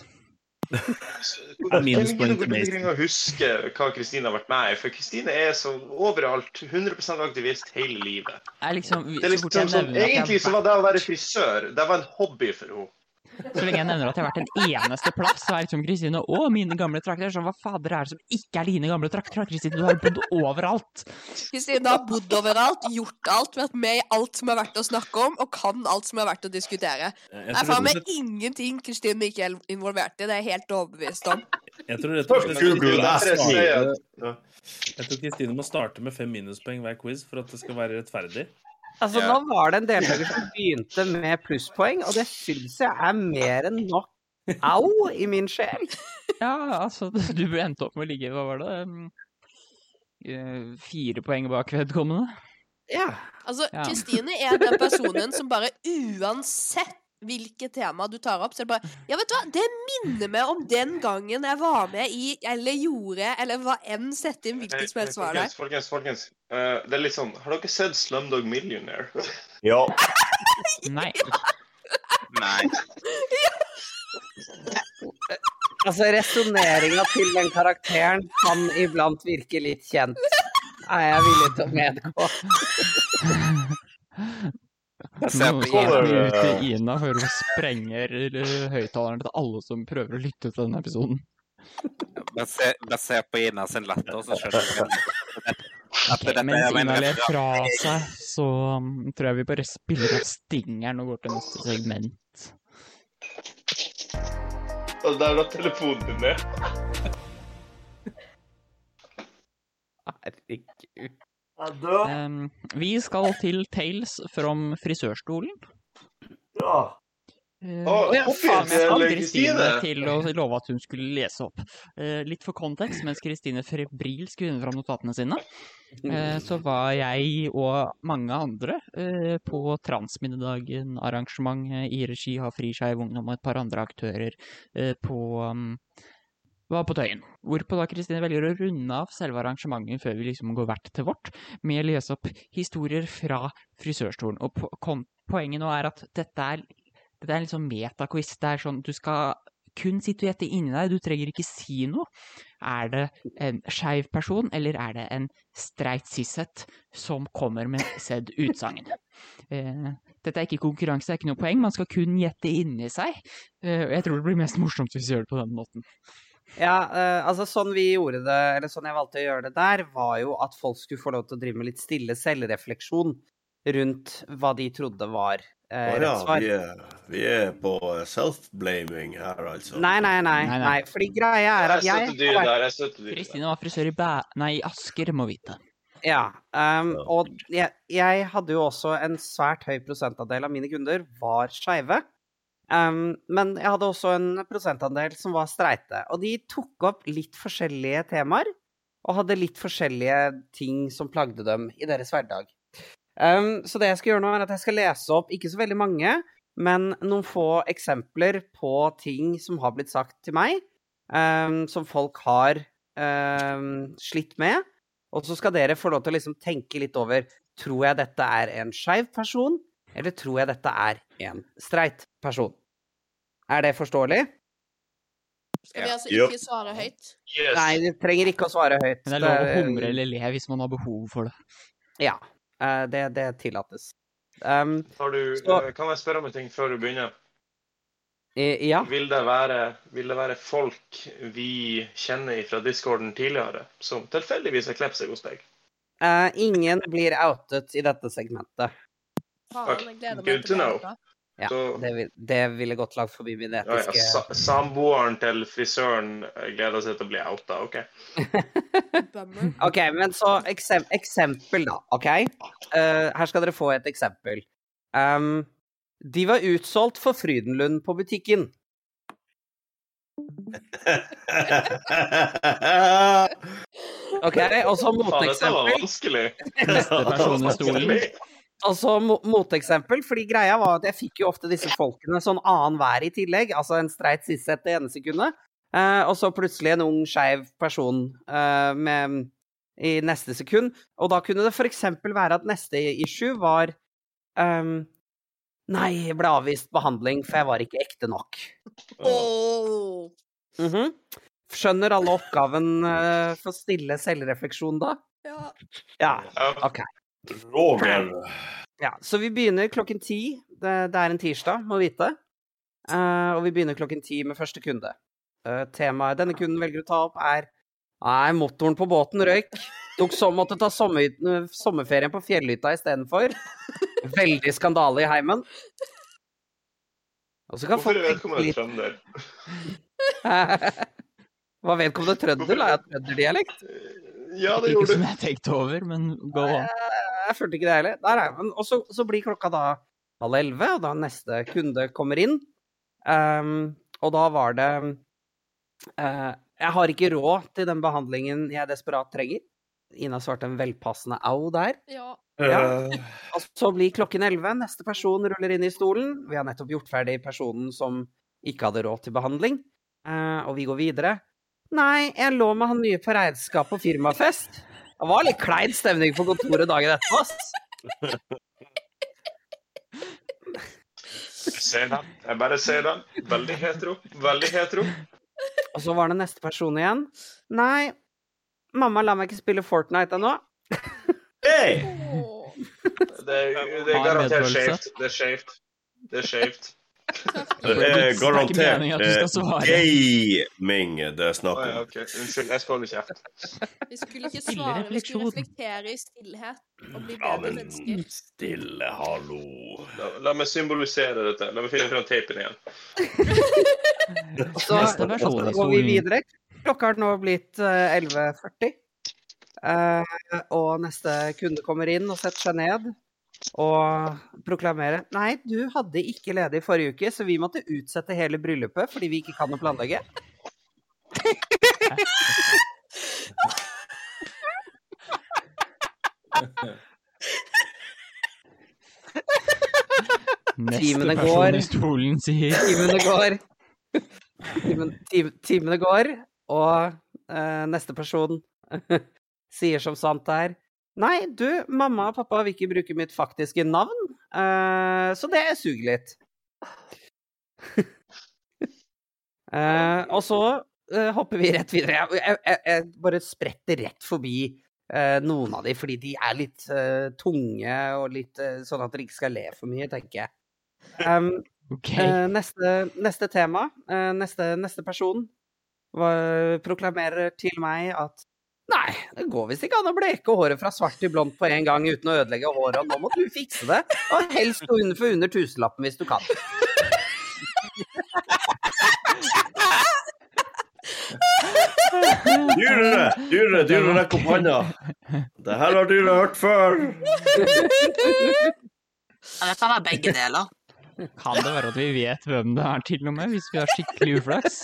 Speaker 7: <laughs> Minuspoeng til
Speaker 4: Jeg
Speaker 7: Mason.
Speaker 4: trenger å huske hva Kristine har vært med i, for Kristine er så overalt. 100 aktivist hele livet.
Speaker 1: Jeg liksom,
Speaker 4: Det er
Speaker 1: så fort jeg
Speaker 4: liksom sånn,
Speaker 1: nevner at jeg
Speaker 4: Egentlig så var det å være frisør det var en hobby for henne.
Speaker 1: Så lenge jeg nevner at jeg har vært en eneste plass, så er liksom Kristine Å, mine gamle trakter. Så hva fader er det som ikke er dine gamle trakter? da, Kristine, du har bodd overalt.
Speaker 5: Kristine har bodd overalt, gjort alt, vært med i alt som er verdt å snakke om, og kan alt som er verdt å diskutere.
Speaker 7: Jeg
Speaker 5: Det er
Speaker 7: tror
Speaker 5: faen
Speaker 7: rett
Speaker 5: meg
Speaker 7: og slett-
Speaker 5: ingenting Kristine ikke er involvert i, det er jeg helt overbevist om.
Speaker 7: jeg tror rett og slett
Speaker 6: Fuck Google,
Speaker 7: Kristine må
Speaker 4: det er det jeg sier.
Speaker 7: starte- Jeg tror Kristine må starte med fem minuspoeng hver quiz for at det skal være rettferdig.
Speaker 2: Altså,
Speaker 3: Ja.
Speaker 2: nå var det en deltaker som begynte med plusspoeng, og det syns jeg er mer enn nok. Au i min sjel.
Speaker 1: Ja, altså, du endte opp med å ligge Hva var det? Mm, eh, Fire poeng bak vedkommende.
Speaker 2: Ja.
Speaker 5: Altså,
Speaker 1: Ja.
Speaker 5: Kristine er den personen som bare uansett hvilket tema du tar opp, så er det bare Ja, vet du hva, det minner meg om den gangen jeg var med i, eller gjorde, eller hva enn sette inn hvilket som helst svar der.
Speaker 4: Folkens, folkens, folkens. Eh, det er litt sånn Har dere sett Slumdog Millionaire?
Speaker 6: Ja.
Speaker 1: Nei.
Speaker 3: Nei.
Speaker 2: Altså, resonneringa til den karakteren kan iblant virke litt kjent. Er jeg villig til å medgå?
Speaker 3: altså, Jeg ser
Speaker 1: Nå
Speaker 3: på
Speaker 1: er vi
Speaker 6: Ina.
Speaker 1: ute i Ina for å sprenge eh, høyttalerne til alle som prøver å lytte til denne episoden.
Speaker 3: Baser- Basert på Ina sin latter, så skjønner jeg at
Speaker 1: Ok,
Speaker 3: dette
Speaker 1: mens
Speaker 3: er en
Speaker 1: Ina ler
Speaker 3: referanse.
Speaker 1: fra seg, så mm, tror jeg vi bare spiller av stingeren og går til neste segment.
Speaker 4: Og der var telefonen din ned.
Speaker 2: Herregud.
Speaker 8: Jeg dør.
Speaker 1: Ehm, vi skal til Tales from frisørstolen.
Speaker 8: Ja.
Speaker 1: Eh,
Speaker 4: Å,
Speaker 1: og ja,
Speaker 4: hopp i
Speaker 1: faen, jeg hadde
Speaker 4: til
Speaker 1: Kristine
Speaker 4: Kristine.
Speaker 1: til å love at hun skulle lese opp. Eh, litt for kontekst, mens Kristine febrilsk vinner fram notatene sine, eh, så var jeg og mange andre eh, på Transmiddagen-arrangement eh, i regi av Fri Skeiv Ungdom og et par andre aktører eh, på um, var på Tøyen. Hvorpå da Kristine velger å runde av selve arrangementet før vi liksom går hvert til vårt, med å lese opp historier fra frisørstolen. Og po kon- poenget nå er at dette er det er liksom metaquiz. Det er sånn du skal kun situere det inni deg, du trenger ikke si noe. Er det en skeiv person, eller er det en streit sishet som kommer med sedd utsagn? Eh, dette er ikke konkurranse, det er ikke noe poeng. Man skal kun gjette inni seg. Eh, og jeg tror det blir mest morsomt hvis vi gjør det på den måten.
Speaker 2: Ja, eh, altså sånn vi gjorde det, eller sånn jeg valgte å gjøre det der, var jo at folk skulle få lov til å drive med litt stille selvrefleksjon rundt hva de trodde var eh,
Speaker 6: Å ja,
Speaker 2: rett svar.
Speaker 6: vi er, vi er på eh, self-blaming her, altså.
Speaker 2: Nei, nei, nei,
Speaker 1: Nei, nei.
Speaker 2: nei. Fordi greia er at
Speaker 4: Jeg
Speaker 2: jeg
Speaker 4: støtter
Speaker 2: har
Speaker 4: dyret
Speaker 2: vært
Speaker 4: der. jeg støtter dyret der.
Speaker 1: Kristine var frisør i Bæ... Nei, i Asker, må vite.
Speaker 2: Ja. ehm,
Speaker 6: Ja.
Speaker 2: og jeg, jeg hadde jo også en svært høy prosentandel av mine kunder var skeive. Ehm, men jeg hadde også en prosentandel som var streite. Og de tok opp litt forskjellige temaer, og hadde litt forskjellige ting som plagde dem i deres hverdag. Ehm, så det jeg skal gjøre nå, er at jeg skal lese opp ikke så veldig mange, men noen få eksempler på ting som har blitt sagt til meg, ehm, som folk har ehm, slitt med. Og så skal dere få lov til å liksom tenke litt over Tror jeg dette er en skeiv person, eller tror jeg dette er en streit person? Er det forståelig?
Speaker 5: Skal vi altså
Speaker 6: Ja.
Speaker 5: ikke svare høyt?
Speaker 4: Yes.
Speaker 2: Nei, du trenger ikke å svare høyt.
Speaker 1: Men det er lov å humre eller le hvis man har behov for det.
Speaker 2: Ja. eh, Det, det tillates. Um,
Speaker 4: Har du,
Speaker 2: Så-
Speaker 4: eh, kan jeg spørre om en ting før du begynner?
Speaker 2: i- ja.
Speaker 4: Vil det være, vil det være folk vi kjenner fra discorden tidligere, som tilfeldigvis har klept seg hos deg?
Speaker 2: eh, ingen blir outet i dette segmentet.
Speaker 4: Fuck,
Speaker 5: Faen, jeg gleder
Speaker 4: good
Speaker 5: meg
Speaker 4: to
Speaker 5: til det.
Speaker 4: know.
Speaker 5: da.
Speaker 2: Ja,
Speaker 4: Så-
Speaker 2: det, eh, vil- det ville gått langt forbi min
Speaker 4: Ja, ja.
Speaker 2: etiske
Speaker 4: Sa samboeren til frisøren eh, gleder seg til å bli outa, OK?
Speaker 5: Bummer.
Speaker 2: OK, men så eksem eksempel, da. OK? Eh, her skal dere få et eksempel. Um, de var utsolgt for Frydenlund på butikken. Ok, og så
Speaker 4: <laughs> Faen, dette var
Speaker 2: moteksempel.
Speaker 4: vanskelig.
Speaker 1: Neste person i stolen.
Speaker 2: Og så Altså, mo- moteksempel, fordi greia var at jeg fikk jo ofte disse folkene sånn annenhver i tillegg. Altså en streit sisshet det ene sekundet, eh, og så plutselig en ung, skeiv person eh, med, i neste sekund. Og da kunne det for eksempel være at neste issue var ehm, Nei, jeg ble avvist behandling, for jeg var ikke ekte nok.
Speaker 5: Åh.
Speaker 2: Mhm. Skjønner alle oppgaven eh, for stille selvrefleksjon da?
Speaker 5: Ja.
Speaker 2: Ja.
Speaker 4: Ja.
Speaker 2: OK.
Speaker 6: Roger.
Speaker 2: Ja, så vi begynner klokken ti. Det, det er en tirsdag, må vite. Eh, og vi begynner klokken ti med første kunde. Eh, temaet denne kunden velger å ta opp, er Nei, motoren på båten røyk. Tok så måtte ta sommer, eh, sommerferien på fjellhytta istedenfor. Veldig skandale i heimen. Og så kan folk
Speaker 4: Hvorfor er
Speaker 2: tenke
Speaker 4: vedkommende
Speaker 2: litt
Speaker 4: trønder?
Speaker 2: <laughs> Hva vedkommende trønder? Er jeg trønderdialekt?
Speaker 4: Eh, Ja, det
Speaker 1: Ikke
Speaker 4: gjorde
Speaker 1: som
Speaker 4: du.
Speaker 1: jeg tenkte over, men gå
Speaker 2: Nei,
Speaker 1: an.
Speaker 2: Jeg følte ikke det heller. Nei, nei, men, og så, så blir klokka da halv elleve, og da neste kunde kommer inn. Ehm, og da var det eh, Jeg har ikke råd til den behandlingen jeg desperat trenger. Ina svarte en velpassende au der.
Speaker 5: ja.
Speaker 2: Ja. Og så blir klokken elleve, neste person ruller inn i stolen. Vi har nettopp gjort ferdig personen som ikke hadde råd til behandling. Eh, og vi går videre. Nei, jeg lå med han nye på regnskap på firmafest. Det var litt klein stemning på kontoret dagen etterpå, ass.
Speaker 4: Jeg ser den. Jeg bare ser den. Veldig hetero. Veldig hetero.
Speaker 2: Og så var det neste person igjen. Nei, mamma la meg ikke spille Fortnite ennå.
Speaker 6: Hey!
Speaker 5: Åh.
Speaker 4: Det, er- det er garantert skjevt. Det er skjevt. Det er skjevt.
Speaker 6: Det er
Speaker 1: Det er ikke meningen at du skal
Speaker 6: Eh, garantert
Speaker 1: svare.
Speaker 6: eh, gaming det er
Speaker 4: Å,
Speaker 6: snakk
Speaker 4: ja,
Speaker 6: om.
Speaker 4: ok. Unnskyld, jeg skal holde kjeft.
Speaker 5: Vi skulle ikke
Speaker 1: Stille
Speaker 5: svare, vi skulle
Speaker 1: refleksjon.
Speaker 5: reflektere i stillhet og bli
Speaker 6: Ja,
Speaker 5: bedre
Speaker 6: men
Speaker 5: mennesker.
Speaker 6: stille, hallo.
Speaker 4: La, la meg symbolisere dette. La meg finne fram teipen igjen.
Speaker 2: Så
Speaker 1: Neste altså. person i
Speaker 2: går altså, vi
Speaker 1: stolen.
Speaker 2: videre. Klokka har nå blitt eh, 11.40. Eh, og neste kunde kommer inn og setter seg ned og proklamerer Nei, du hadde ikke ledig forrige uke, så vi måtte utsette hele bryllupet fordi vi ikke kan å planlegge. Timene
Speaker 1: Neste
Speaker 2: går.
Speaker 1: person i stolen sier
Speaker 2: Timene går. Timen, tim, timene går, og eh, neste person <laughs> sier som sant er Nei, du, mamma og pappa vil ikke bruke mitt faktiske navn, eh, så det suger litt. <laughs> Eh, og så eh, hopper vi rett videre. Jeg, jeg, jeg, jeg bare spretter rett forbi eh, noen av de, fordi de er litt eh, tunge og litt eh, sånn at dere ikke skal le for mye, tenker jeg. Um,
Speaker 1: OK.
Speaker 2: Eh, neste, neste tema, eh, neste, neste person, var, proklamerer til meg at Nei, det går visst ikke an å bleke håret fra svart til blondt på en gang uten å ødelegge håret, og nå må du fikse det, og helst gå under for under tusenlappen hvis du kan.
Speaker 6: Dyre, dyre, dyre, rekk opp hånda. Det her har dyret hørt før.
Speaker 8: Ja, det kan være begge deler.
Speaker 1: Kan det være at vi vet hvem det er, til og med, hvis vi har skikkelig uflaks?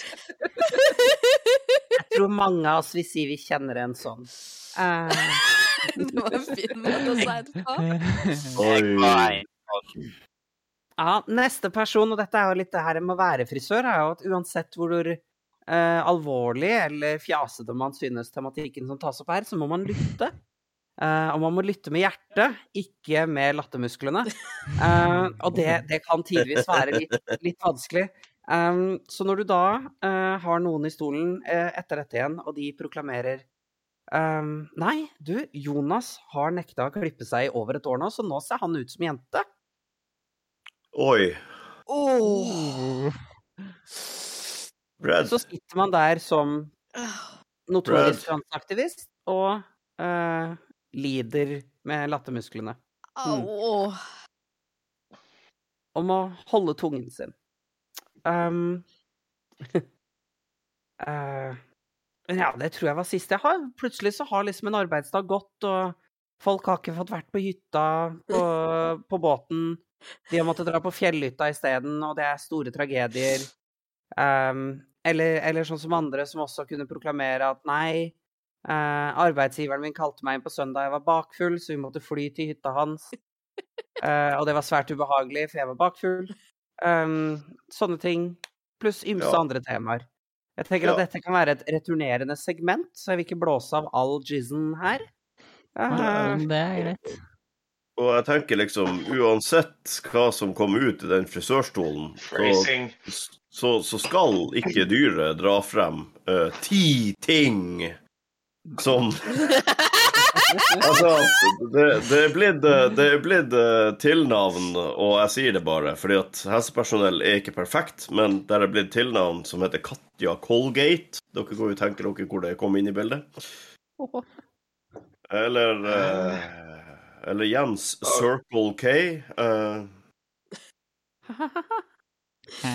Speaker 2: Jeg tror mange av oss vil si vi kjenner en sånn. Eh,
Speaker 5: <laughs> Det var en fin måte å si det
Speaker 1: Eh,
Speaker 5: på.
Speaker 6: Oi.
Speaker 2: Ja, neste person, og dette er jo litt det her med å være frisør, er jo at uansett hvor eh, alvorlig eller fjasete man synes tematikken som tas opp her, så må man lytte. Eh, og man må lytte med hjertet, ikke med lattermusklene. Eh, og det, det kan tidvis være litt, litt vanskelig. Um, så når du da eh, har noen i stolen eh, etter dette igjen, og de proklamerer um, Nei, du, Jonas har nekta å klippe seg i over et år nå, så nå ser han ut som jente.
Speaker 6: Oi. Red.
Speaker 2: Så sitter man der som notorisk transaktivist og eh, lider med lattermusklene.
Speaker 5: Mm. Au. <laughs>
Speaker 2: Om å holde tungen sin. Um, eh, men ja, det tror jeg var sist jeg har. Plutselig så har liksom en arbeidsdag gått, og folk har ikke fått vært på hytta, på, på båten. De har måttet dra på fjellhytta isteden, og det er store tragedier. Um, eller, eller sånn som andre som også kunne proklamere at nei, eh, arbeidsgiveren min kalte meg inn på søndag, jeg var bakfull, så vi måtte fly til hytta hans. Eh, og det var svært ubehagelig, for jeg var bakfull. Um, sånne ting. Pluss ymse
Speaker 6: Ja.
Speaker 2: andre temaer. Jeg tenker at
Speaker 6: Ja.
Speaker 2: dette kan være et returnerende segment, så jeg vil ikke blåse av all jizzen her. Eh,
Speaker 1: Det er greit.
Speaker 6: Og jeg tenker liksom, uansett hva som kommer ut i den frisørstolen, så,
Speaker 4: Phrasing.
Speaker 6: så, så skal ikke dyret dra frem eh, ti ting som Altså, det, det er blitt, eh, det er blitt eh, tilnavn, og jeg sier det bare, fordi at helsepersonell er ikke perfekt, men der er blitt tilnavn som heter Katja Colgate. Dere kan jo tenke dere hvor det kom inn i bildet. Eller eh, Eller Jens Circle K. eh,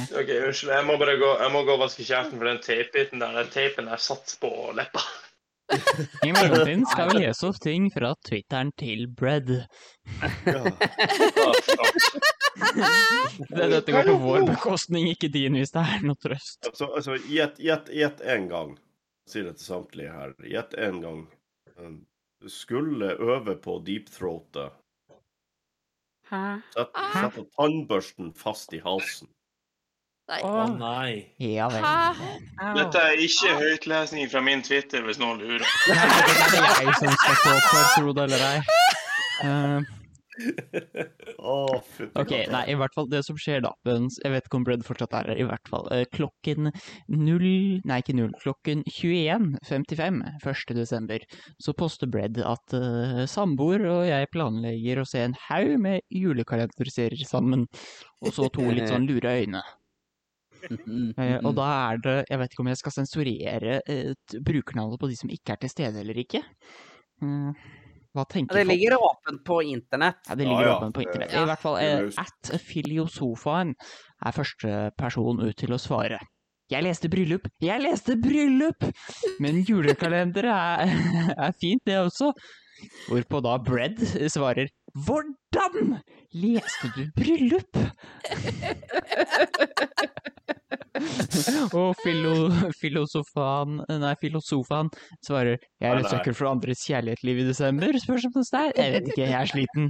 Speaker 4: Ok, Unnskyld, jeg må bare gå, jeg må gå og vaske kjeften for den teipbiten der. Den teipen jeg satt på leppa.
Speaker 1: I mellomtiden skal vi lese opp ting fra Twitteren til Bread.
Speaker 6: ja.
Speaker 8: <laughs>
Speaker 1: Det, dette går på vår bekostning, ikke din, hvis det er noe trøst.
Speaker 6: Altså, altså gjett, gjett, gjett én gang. Sier det til samtlige her. Gjett én gang. Um, Skulle øve på deepthroatet.
Speaker 2: hæ?
Speaker 6: Sett, sett på tannbørsten fast i halsen.
Speaker 5: Nei.
Speaker 7: Å nei.
Speaker 1: Ja vel.
Speaker 5: Hæ?
Speaker 2: Au.
Speaker 4: Dette er ikke høytlesning fra min Twitter, hvis noen lurer.
Speaker 1: Det er det er jeg som skal stå for, tro det eller ei. Eh,
Speaker 6: Å, fytti
Speaker 1: ok,
Speaker 6: katta.
Speaker 1: nei, i hvert fall det som skjer da mens- Jeg vet ikke om Bread fortsatt er her, i hvert fall. eh, klokken null Nei, ikke null. Klokken 21.55 1. desember så poster Bread at eh, samboer og jeg planlegger å se en haug med julekalenderserier sammen. Og så to litt sånn lure øyne. Eh,
Speaker 3: Mm-hmm.
Speaker 1: og da er det Jeg vet ikke om jeg skal sensurere eh, t- brukernavnet på de som ikke er til stede eller ikke. Mm, hva tenker
Speaker 2: Det
Speaker 1: folk?
Speaker 2: ligger åpent på internett.
Speaker 1: Ja, det ligger
Speaker 6: Ja, ja.
Speaker 1: åpent på internett.
Speaker 6: Ja.
Speaker 1: I hvert fall
Speaker 6: Det er
Speaker 1: eh,
Speaker 6: løst.
Speaker 1: at Filiosofaen er første person ut til å svare. Jeg leste bryllup! Jeg leste bryllup! Men julekalendere er, er <laughs> fint, det også. Hvorpå da Bredd svarer Hvordan leste du bryllup? Og filo, filosofan Nei, filosofaen svarer Jeg er
Speaker 6: Nei,
Speaker 1: en
Speaker 6: nei.
Speaker 1: sucker for andres kjærlighetsliv i desember? Spørsmålstegn. Jeg vet ikke, jeg er sliten.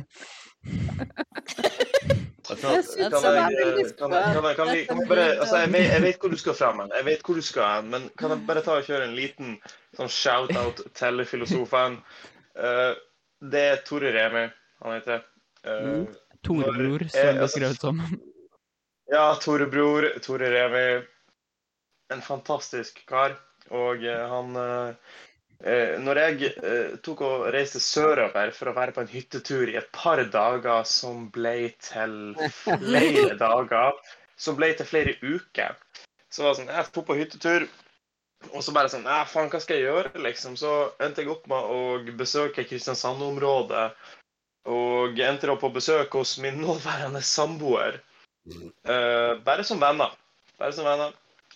Speaker 6: Jeg tror
Speaker 2: Jeg
Speaker 6: at-
Speaker 2: synes
Speaker 8: Kan
Speaker 2: det var
Speaker 8: jeg,
Speaker 2: veldig
Speaker 8: eh, kan jeg, kan jeg, kan vi, kan vi bare, altså jeg, vet, jeg vet hvor du skal fra, men jeg vet hvor du skal hen, men kan jeg bare ta og kjøre en liten sånn shout-out til filosofen? Eh, det er Tore Remi, han heter.
Speaker 2: Mm.
Speaker 8: Uh,
Speaker 1: Torebror,
Speaker 8: Når-
Speaker 1: som
Speaker 8: eh,
Speaker 1: det
Speaker 8: altså-
Speaker 1: skrevet som.
Speaker 8: ja, Tore Bror, Tore Remi. En fantastisk kar. Og eh, han eh, eh, Når jeg eh, tok og reiste sørover for å være på en hyttetur i et par dager som ble til flere dager, som ble til flere uker, så var det sånn Jeg dro på hyttetur. Og så bare sånn Nei, faen, hva skal jeg gjøre? Liksom. Så endte jeg opp med å besøke Kristiansand-området. Og jeg endte da på besøk hos min nåværende samboer. Eh, bare som venner. Bare som venner.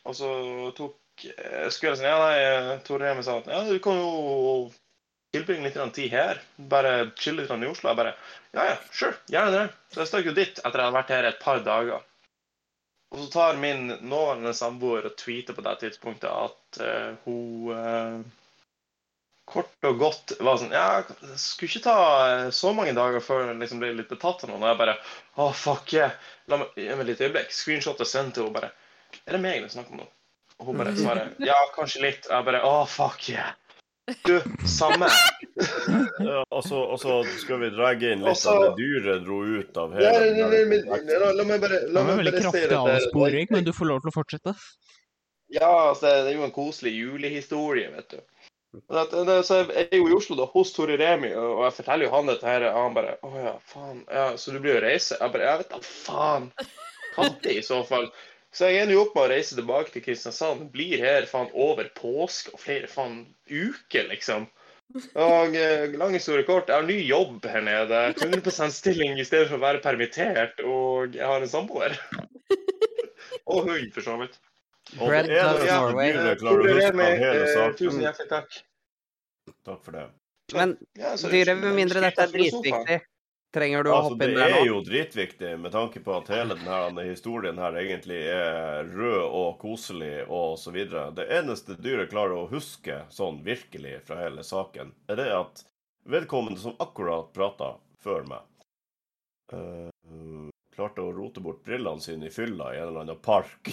Speaker 8: Og så tok eh, skulle jeg sånn, ja nei, eh, Tore Hjemme sa at ja, du kan jo tilbringe litt grann tid her. Bare chille litt grann i Oslo. Jeg bare ja ja, sure, gjerne det. Så jeg stakk jo dit etter jeg hadde vært her et par dager. Og så tar min nåværende samboer og tweeter på det tidspunktet at eh, hun eh, kort og godt var sånn Ja, det skulle ikke ta eh, så mange dager før hun liksom ble litt betatt av noen. Og jeg bare Å, fuck yeah. La meg gi meg et lite øyeblikk. Screenshotet sendt til henne bare Er det meg det er snakk om nå? Og hun <laughs> bare svarer Ja, kanskje litt. Og jeg bare Å, fuck yeah. Du, samme.
Speaker 6: Ja, Og så og så skal vi dra inn litt
Speaker 8: Og så-
Speaker 6: av det dyret dro ut av
Speaker 8: <laughs> Ja,
Speaker 6: hele
Speaker 8: nei, nei, men-
Speaker 6: den der-
Speaker 8: la, la meg bare
Speaker 1: Det
Speaker 8: la
Speaker 1: var
Speaker 8: meg
Speaker 1: en veldig
Speaker 8: bare si
Speaker 1: kraftig
Speaker 8: dette her.
Speaker 1: avsporing, men du får lov til å fortsette.
Speaker 8: Ja, altså, det er jo en koselig julehistorie, vet du. Men at, det, så jeg er jo i Oslo da, hos Tore Remi, og og jeg forteller jo han dette her, og han bare Å ja, faen. Ja, så du blir å reise? Jeg bare Ja, vet da faen. Katte i så fall. Så jeg ender jo opp med å reise tilbake til Kristiansand. Blir her faen over påske og flere faen uker, liksom. Og eh, lang historie kort, jeg har ny jobb her nede. 100 stilling i stedet for å være permittert. Og jeg har en samboer. Og hund, for så vidt.
Speaker 6: Og
Speaker 2: Bread
Speaker 6: det er
Speaker 2: of
Speaker 6: det som
Speaker 2: Norway.
Speaker 6: dyret klarer å
Speaker 8: Tore
Speaker 6: huske
Speaker 8: Remi,
Speaker 6: av hele
Speaker 8: eh,
Speaker 6: saken.
Speaker 8: tusen hjertelig takk.
Speaker 6: Takk for det.
Speaker 2: Men
Speaker 8: Ja, så- liksom,
Speaker 2: dyret, med mindre dette er dritviktig, trenger du å
Speaker 6: Altså,
Speaker 2: hoppe
Speaker 6: det
Speaker 2: inn der
Speaker 6: er
Speaker 2: nå?
Speaker 6: jo dritviktig med tanke på at hele denne historien her egentlig er rød og koselig og så videre. Det eneste dyret klarer å huske sånn virkelig fra hele saken, er det at vedkommende som akkurat prata før meg, eh, klarte å rote bort brillene sine i fylla i en eller annen park.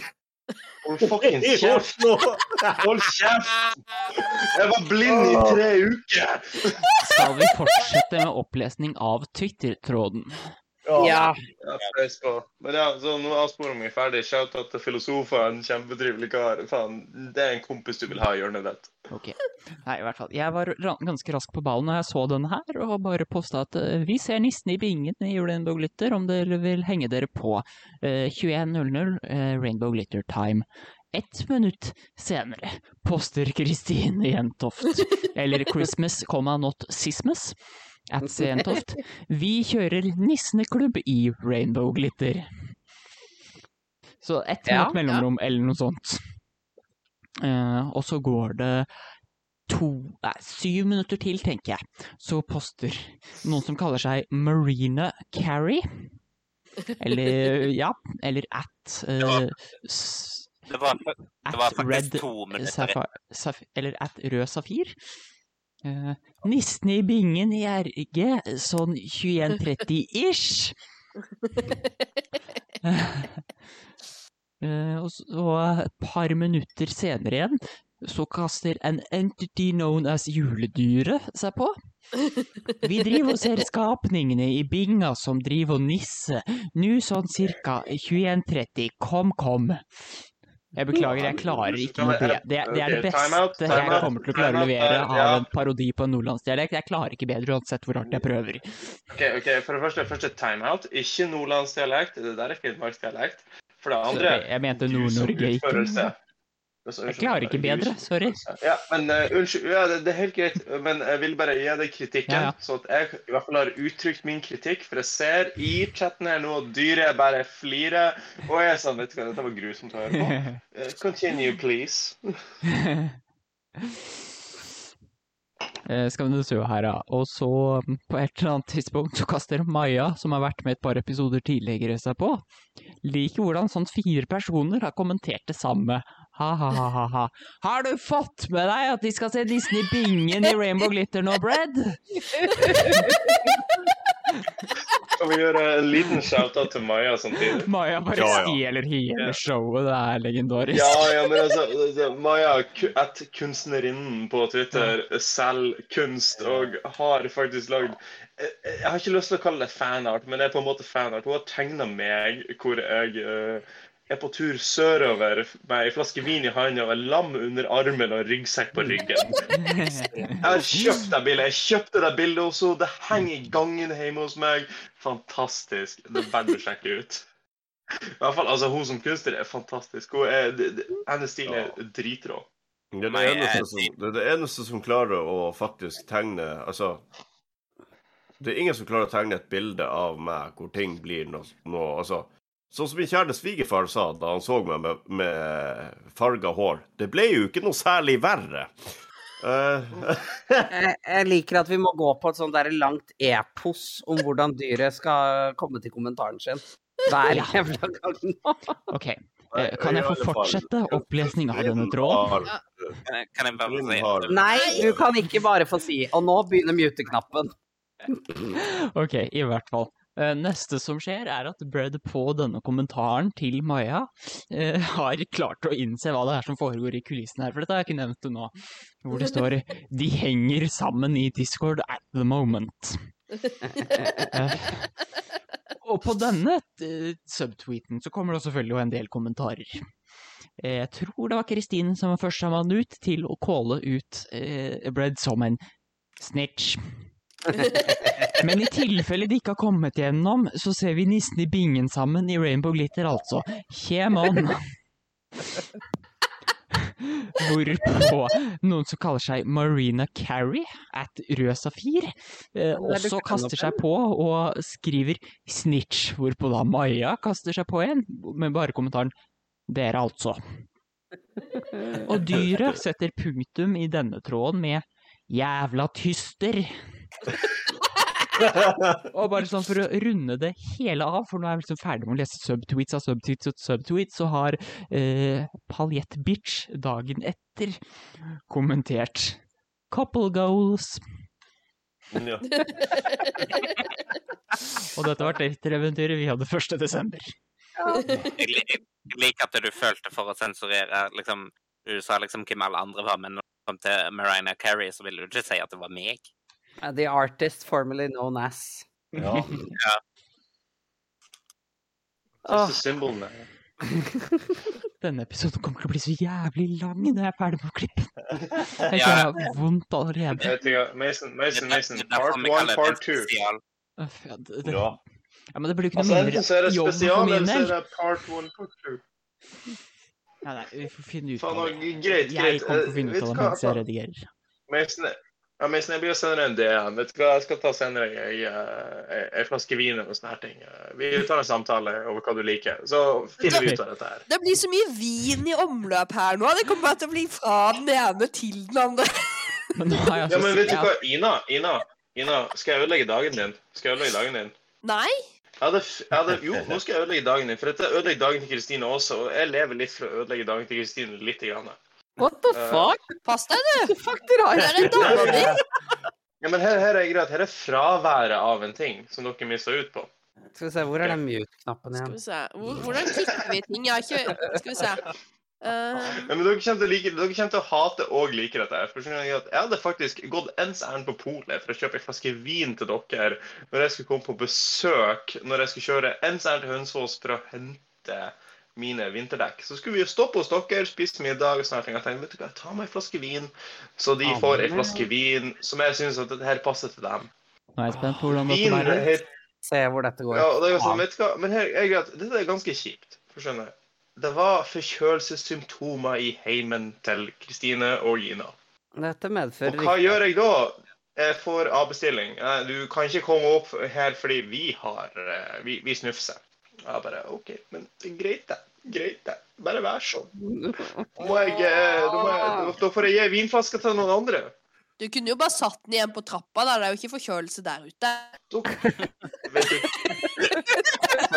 Speaker 8: Hold fuckings kjeft! Hold kjeft! Jeg var blind i tre uker!
Speaker 1: Skal vi fortsette med opplesning av Twitter-tråden?
Speaker 2: Ja.
Speaker 8: Ja, fleis på. Men ja, så nå er avsporingen min ferdig. Shout-out til filosofen. Kjempetrivelig kar. Faen, det er en kompis du vil ha i hjørnet ditt.
Speaker 1: Ok. Nei, i hvert fall. Jeg var ra- ganske rask på ballen når jeg så den her, og bare posta at eh, vi ser nissen i bingen i Rainbow Glitter om dere vil henge dere på. Eh, 21.00 eh, Rainbow Glitter Time. Ett minutt senere poster Kristine <laughs> Jentoft, eller Christmas, comma, not Sismas, at Jentoft. Vi kjører nisseneklubb i Rainbow Glitter. Så ett
Speaker 2: Ja,
Speaker 1: minutt mellomrom, eller noe sånt. Eh, og så går det to Nei, syv minutter til, tenker jeg. Så poster noen som kaller seg Marina Carrie. Eller
Speaker 3: <laughs>
Speaker 1: ja, eller at eh,
Speaker 3: Ja.
Speaker 1: s-
Speaker 3: Det var, det var
Speaker 1: At
Speaker 3: faktisk
Speaker 1: Red
Speaker 3: to minutter
Speaker 1: Safa- saf, Eller at Rød Safir. Eh, nissen i bingen i RG, sånn <laughs>
Speaker 3: <laughs>
Speaker 1: 21.30-ish. Eh, og, s- og et par minutter senere igjen så kaster en entity known as juledyret seg på. Vi driver og ser skapningene i binga som driver og nisser. Nå sånn cirka 21.30. Kom, kom. Jeg beklager, jeg klarer ikke noe bedre. Det, det er det
Speaker 8: Ok, time out,
Speaker 1: beste
Speaker 8: time
Speaker 1: jeg
Speaker 8: out,
Speaker 1: kommer til å
Speaker 8: time
Speaker 1: klare å
Speaker 8: out
Speaker 1: levere
Speaker 8: der, ja.
Speaker 1: av en parodi på en nordlandsdialekt. Jeg klarer ikke bedre uansett hvor hardt jeg prøver.
Speaker 8: OK, ok, for det første, første timeout. Ikke nordlandsdialekt. Det der er finnmarksdialekt. For det
Speaker 1: Så
Speaker 8: andre
Speaker 1: Jeg jeg mente
Speaker 8: du som
Speaker 1: Nord-Norge. ikke-
Speaker 8: utførelse.
Speaker 1: Jeg klarer ikke bedre, sorry.
Speaker 8: <laughs> Ja, men eh, unnskyld, ja, det, det er helt greit, men jeg vil bare gi deg kritikken,
Speaker 1: Ja, ja.
Speaker 8: så at jeg i hvert fall har uttrykt min kritikk, for jeg ser i chatten her nå at dyret bare flirer, og jeg er sånn, vet du hva, dette var grusomt å høre på. Eh, Continue, please.
Speaker 1: Eh, Skal vi se her, da. Og så, mm, på et eller annet tidspunkt, så kaster Maja, som har vært med et par episoder tidligere, seg på. Liker hvordan sånn fire personer har kommentert det samme. Ha-ha-ha-ha. Har du fått med deg at de skal se nissen i bingen i Rainbow Glitter No Bread?
Speaker 8: Skal vi gjøre en liten shout-out til Maja samtidig?
Speaker 1: Maja bare
Speaker 6: Ja, ja.
Speaker 1: stjeler hele
Speaker 8: Ja.
Speaker 1: showet, det er legendarisk.
Speaker 8: Ja, ja, men altså, altså, Maja, ku- at kunstnerinnen på Twitter selger kunst og har faktisk lagd Jeg jeg har ikke lyst til å kalle det fanart, men det er på en måte fanart. Hun har tegna meg hvor jeg eh, er på tur sørover med ei flaske vin i hånda og en lam under armen og en ryggsekk på ryggen. Jeg har kjøpt det bildet. Jeg kjøpte det bildet også. Det henger i gangen hjemme hos meg. Fantastisk. Det er verdt å sjekke ut. I hvert fall, altså, Hun som kunstner er fantastisk. Hun er, det, det, hennes stil er dritrå.
Speaker 6: Det er det,
Speaker 3: Meg er
Speaker 6: eneste som, det er det eneste som klarer å faktisk tegne Altså Det er ingen som klarer å tegne et bilde av meg hvor ting blir noe, noe altså, Sånn som min kjære svigerfar sa da han så meg med, med farga hår. Det ble jo ikke noe særlig verre. Eh,
Speaker 2: Jeg, jeg liker at vi må gå på et sånt der langt epos om hvordan dyret skal komme til kommentaren
Speaker 6: <laughs>
Speaker 2: sin. Hver jævla gang nå.
Speaker 1: <laughs> Ok, eh, kan
Speaker 6: <laughs>
Speaker 1: jeg få fortsette opplesning av denne tråden?
Speaker 6: Har-
Speaker 3: Kan jeg- kan jeg bare
Speaker 6: Linn
Speaker 3: si
Speaker 6: har-
Speaker 2: Nei, du kan ikke bare få si Og nå begynner mute-knappen.
Speaker 1: Ok, i hvert fall. Eh, Neste som skjer, er at Brad på denne kommentaren til Maja eh, har klart å innse hva det er som foregår i kulissene her, for dette har jeg ikke nevnt til nå. Hvor det står 'De henger sammen i Discord at the moment'. Eh, Og på denne eh, subtweeten så kommer det selvfølgelig jo en del kommentarer. Eh, Jeg tror det var Kristine som var første mann ut til å calle ut eh, Brad som en snitch. Men i tilfelle de ikke har kommet gjennom, så ser vi nissen i bingen sammen i Rainbow Glitter, altså. Come on! Hvorpå noen som kaller seg Marina Carrie at Rød Safir, eh, også kaster seg på og skriver 'snitch', hvorpå da Maja kaster seg på igjen, med bare kommentaren 'dere, altså'. Og dyret setter punktum i denne tråden med 'jævla tyster'.
Speaker 6: <laughs>
Speaker 1: Og bare sånn for å runde det hele av, for nå er jeg liksom ferdig med å lese subtweets av subtweets og subtweets, så har eh, Paljettbitch dagen etter kommentert Couple goals.
Speaker 8: Mm,
Speaker 6: Ja.
Speaker 1: Og dette var Twitter-eventyret vi hadde 1. desember.
Speaker 3: Jeg lik- jeg liker at du følte for å sensurere liksom, Du sa liksom hvem alle andre var, men når det kom til Marina Carey, så ville du ikke si at det var meg.
Speaker 2: Uh, The artist formerly known as.
Speaker 6: Ja.
Speaker 8: Disse symbolene.
Speaker 1: Denne episoden kommer til å bli så jævlig lang når jeg er ferdig med å klippe. Jeg
Speaker 3: Ja.
Speaker 1: kjenner jeg har vondt allerede.
Speaker 8: Jeg tenker, Mason,
Speaker 3: Det er derfor-
Speaker 8: Mason, Mason.
Speaker 3: det er derfor
Speaker 8: Part
Speaker 3: vi kaller
Speaker 8: one,
Speaker 3: det en
Speaker 8: part two.
Speaker 3: spesial.
Speaker 1: Uff, ja, det, det,
Speaker 6: ja.
Speaker 1: ja, men det blir jo ikke
Speaker 8: Altså,
Speaker 1: noe
Speaker 8: Enten så er
Speaker 1: mindre
Speaker 8: det
Speaker 1: jobb for
Speaker 8: spesial,
Speaker 1: min
Speaker 8: eller så er
Speaker 1: del.
Speaker 8: det part one, part two.
Speaker 1: Nei, nei, vi får finne ut
Speaker 8: Faen,
Speaker 1: av
Speaker 8: og
Speaker 1: det.
Speaker 8: greit,
Speaker 1: Jeg
Speaker 8: greit.
Speaker 1: kommer til å
Speaker 8: Eh,
Speaker 1: finne ut
Speaker 8: vet
Speaker 1: av
Speaker 8: du
Speaker 1: det
Speaker 8: hva,
Speaker 1: mens jeg redigerer.
Speaker 8: Mason, ja, Mason, jeg blir å sende deg en DM. Vet du hva, jeg skal ta senere ei, ei, ei flaske vin eller sånne her ting. Eh, Vi tar en samtale over hva du liker, så finner vi ut av dette her.
Speaker 5: <laughs> Det blir så mye vin i omløp her nå. Det kommer bare til å bli fra den ene til den andre.
Speaker 1: Men nå har jeg
Speaker 8: Ja,
Speaker 1: altså
Speaker 8: men vet du
Speaker 1: ja,
Speaker 8: hva, Ina, Ina, Ina, skal jeg ødelegge dagen din? Skal jeg ødelegge dagen din?
Speaker 5: Nei,
Speaker 8: Jeg hadde, f- jeg hadde, jo, nå skal jeg ødelegge dagen din, for dette ødelegger dagen til Kristine også, og jeg lever litt for å ødelegge dagen til Kristine litt. Grann.
Speaker 2: What the
Speaker 8: Eh,
Speaker 2: fuck?
Speaker 5: pass deg,
Speaker 2: The fuck dere har
Speaker 5: det er en dame di.
Speaker 8: Ja, men her, her er greit, her er fraværet av en ting som dere mista ut på.
Speaker 2: Skal vi se, hvor er den mute-knappen
Speaker 5: Skal
Speaker 2: igjen?
Speaker 5: vi se. Hvor- Hvordan klikker vi ting? Jeg har ikke Skal vi se. Eh,
Speaker 8: Ja, men dere kommer til å, like, dere kommer til å hate og like dette. her, For skjønner dere at jeg hadde faktisk gått ens ærend på polet for å kjøpe en flaske vin til dere når jeg skulle komme på besøk, når jeg skulle kjøre ens ærend til Hønsås for å hente mine vinterdekk. Så skulle vi jo stoppe hos dere, spise middag og sånne ting. Jeg tenkte, vet du hva, jeg tar meg en flaske vin. Så de får en flaske vin som jeg syns at dette her passer til dem.
Speaker 1: Nå er jeg spent på hvordan dette
Speaker 8: Vin
Speaker 1: bærer ut.
Speaker 8: heter
Speaker 2: Se hvor dette går.
Speaker 8: ja, og det er jo sånn, vet du hva, men her er greit, dette er ganske kjipt, for skjønner jeg. Det var forkjølelsessymptomer i heimen til Kristine og Gina.
Speaker 2: Dette medfører
Speaker 8: Og hva gjør jeg da? Jeg får avbestilling. Eh, Du kan ikke komme opp her fordi vi har eh, Vi, vi snufser. Jeg bare OK, men greit, det. Greit, det. Bare vær sånn. Da må jeg, eh, da, må jeg, da får jeg gi vinflaska til noen andre.
Speaker 5: Du kunne jo bare satt den igjen på trappa. Da. Det er jo ikke forkjølelse der ute.
Speaker 8: Da vet jeg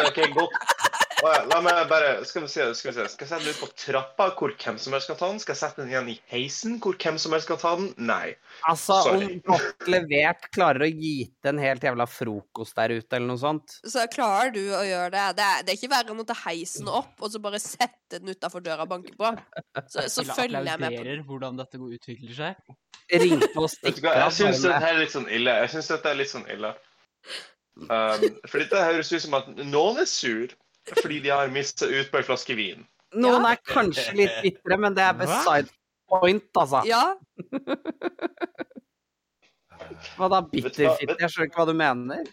Speaker 8: Ok, godt. Å ja, La meg bare Skal vi se. Skal, vi se. skal jeg sette den ut på trappa hvor hvem som helst kan ta den? Skal jeg sette den igjen i heisen hvor hvem som helst kan ta den? Nei.
Speaker 2: Altså,
Speaker 8: Sorry.
Speaker 2: om godt levert klarer å gyte en helt jævla frokost der ute, eller noe sånt.
Speaker 5: Så klarer du å gjøre det. Det er, det er ikke verre enn å ta heisen opp og så bare sette den utafor døra og banke på. Så, <laughs> så
Speaker 1: Eller
Speaker 5: følger jeg med på
Speaker 1: applauderer hvordan dette går- utvikler seg.
Speaker 2: Ringte og
Speaker 8: Vet du
Speaker 2: stikka.
Speaker 8: hva, jeg syns dette er litt sånn ille. Jeg synes dette er litt sånn ille. Um, fordi det høres ut som at noen er sur fordi de har mista ut på ei flaske vin.
Speaker 2: Noen er kanskje litt bitre, men det er beside point, altså.
Speaker 5: Ja,
Speaker 2: Hva da, bitterfitte? Jeg skjønner ikke hva du mener.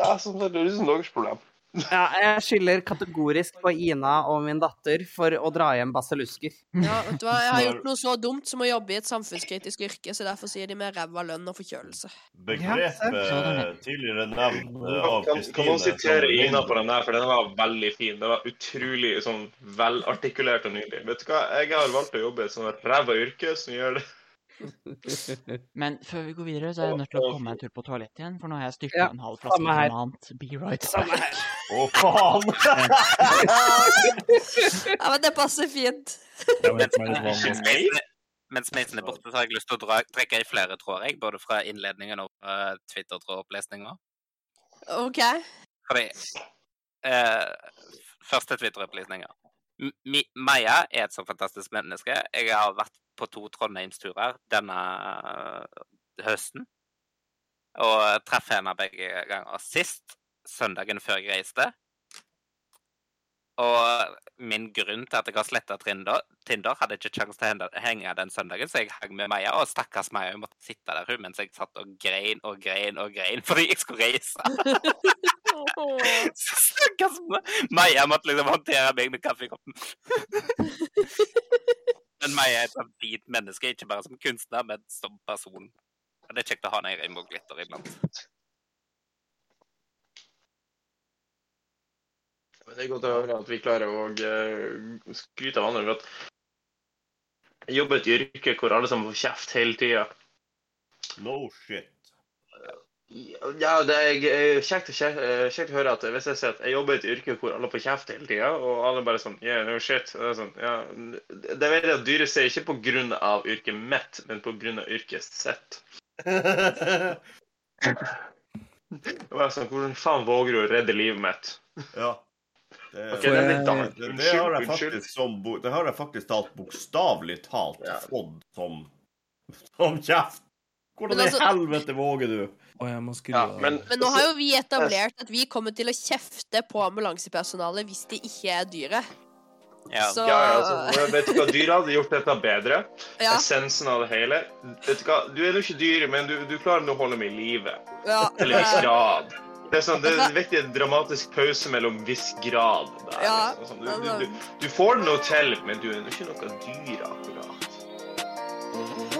Speaker 8: Ja, så det høres ut som deres problem.
Speaker 2: Ja, jeg skylder kategorisk på Ina og min datter for å dra hjem basillusker.
Speaker 5: ja, vet du hva? Jeg har gjort noe så dumt som å jobbe i et samfunnskritisk yrke, så derfor sier de med ræva lønn og forkjølelse.
Speaker 2: Ja, sant.
Speaker 1: sånn,
Speaker 6: Begrepet tidligere nevnt eh, av
Speaker 8: Kan,
Speaker 6: Kristine
Speaker 8: kan noen sitere
Speaker 6: som-
Speaker 8: Ina på den der, for den var veldig fin. Den var utrolig sånn velartikulert og nydelig. Vet du hva, jeg har valgt å jobbe i et sånt ræva yrke som gjør det
Speaker 1: Men før vi går videre, så er jeg nødt til å komme meg en tur på toalettet igjen, for nå har jeg styrta
Speaker 2: Ja,
Speaker 1: en halv flaske
Speaker 2: samme her.
Speaker 1: med annet. Be right
Speaker 2: Samme her.
Speaker 6: Å, faen!
Speaker 5: Ja, men det passer fint.
Speaker 7: Jeg vet meg litt vanlig.
Speaker 8: Ikke meg?
Speaker 3: Mens meisen er borte, så har jeg lyst til å dra, trekke i flere tråder, jeg. Både fra innledningen og fra Twitter-trådopplesninga.
Speaker 5: OK.
Speaker 3: Fordi eh, Første Twitter-opplysninger. M- Mi- Maja er et så fantastisk menneske. Jeg har vært på to Trondheimsturer denne eh, høsten. Og traff henne begge ganger. Sist, søndagen før jeg reiste. Og min grunn til at jeg har sletta Tinder, Tinder, hadde ikke kjangs til å hende- henge den søndagen, så jeg hang med Maja. Og stakkars Maja, hun måtte sitte der hun, mens jeg satt og grein og grein og grein fordi jeg skulle reise. Så Stakkars Ma- Maja måtte liksom håndtere meg med kaffekoppen. Men Maja er et sånt fint menneske, ikke bare som kunstner, men som person. Og det er kjekt å ha henne i Rainbow Glitter iblant.
Speaker 8: Men det er godt å høre at vi klarer å eh, skryte av andre. for at Jeg jobber i et yrke hvor alle sammen får kjeft hele tida.
Speaker 6: No shit.
Speaker 8: <laughs> Ja, det er eh, kjekt, å kje- eh, kjekt å høre at hvis jeg sier at jeg jobber i et yrke hvor alle får kjeft hele tida, og alle bare sånn yeah, no shit. Og det er sånn, ja, det- det vet jeg at dyret sier ikke på grunn av yrket mitt, men på grunn av yrket sitt.
Speaker 6: ja.
Speaker 8: Det var sånn, Hvordan faen våger du å redde livet mitt?
Speaker 6: Det,
Speaker 8: Ok,
Speaker 6: det,
Speaker 8: den er litt dark.
Speaker 6: det, har jeg
Speaker 8: Unnskyld. unnskyld.
Speaker 6: faktisk som bo- Det har jeg faktisk talt bokstavelig talt
Speaker 8: Ja.
Speaker 6: fått som Som kjeft! Hvordan
Speaker 5: Men
Speaker 6: i
Speaker 5: altså-
Speaker 6: helvete våger du?
Speaker 7: Å, jeg må skru
Speaker 8: Ja,
Speaker 7: av.
Speaker 8: men,
Speaker 5: Men nå har jo vi etablert at vi kommer til å kjefte på ambulansepersonalet hvis de ikke er dyre.
Speaker 3: Ja.
Speaker 5: Så
Speaker 8: ja, ja,
Speaker 5: <laughs>
Speaker 8: altså, Vet du hva, dyret hadde gjort dette bedre.
Speaker 5: ja,
Speaker 8: essensen av det hele. Vet du hva, du er jo ikke dyr, men du, du klarer nå å holde meg i live.
Speaker 5: ja. Altså-
Speaker 8: Til en viss grad. Det er, sånn, det er en viktig dramatisk pause mellom viss grad. Der,
Speaker 5: Ja,
Speaker 8: liksom. sånn, du, du, du, du får det nå til, men du er nå ikke noe dyr akkurat.
Speaker 5: Eh,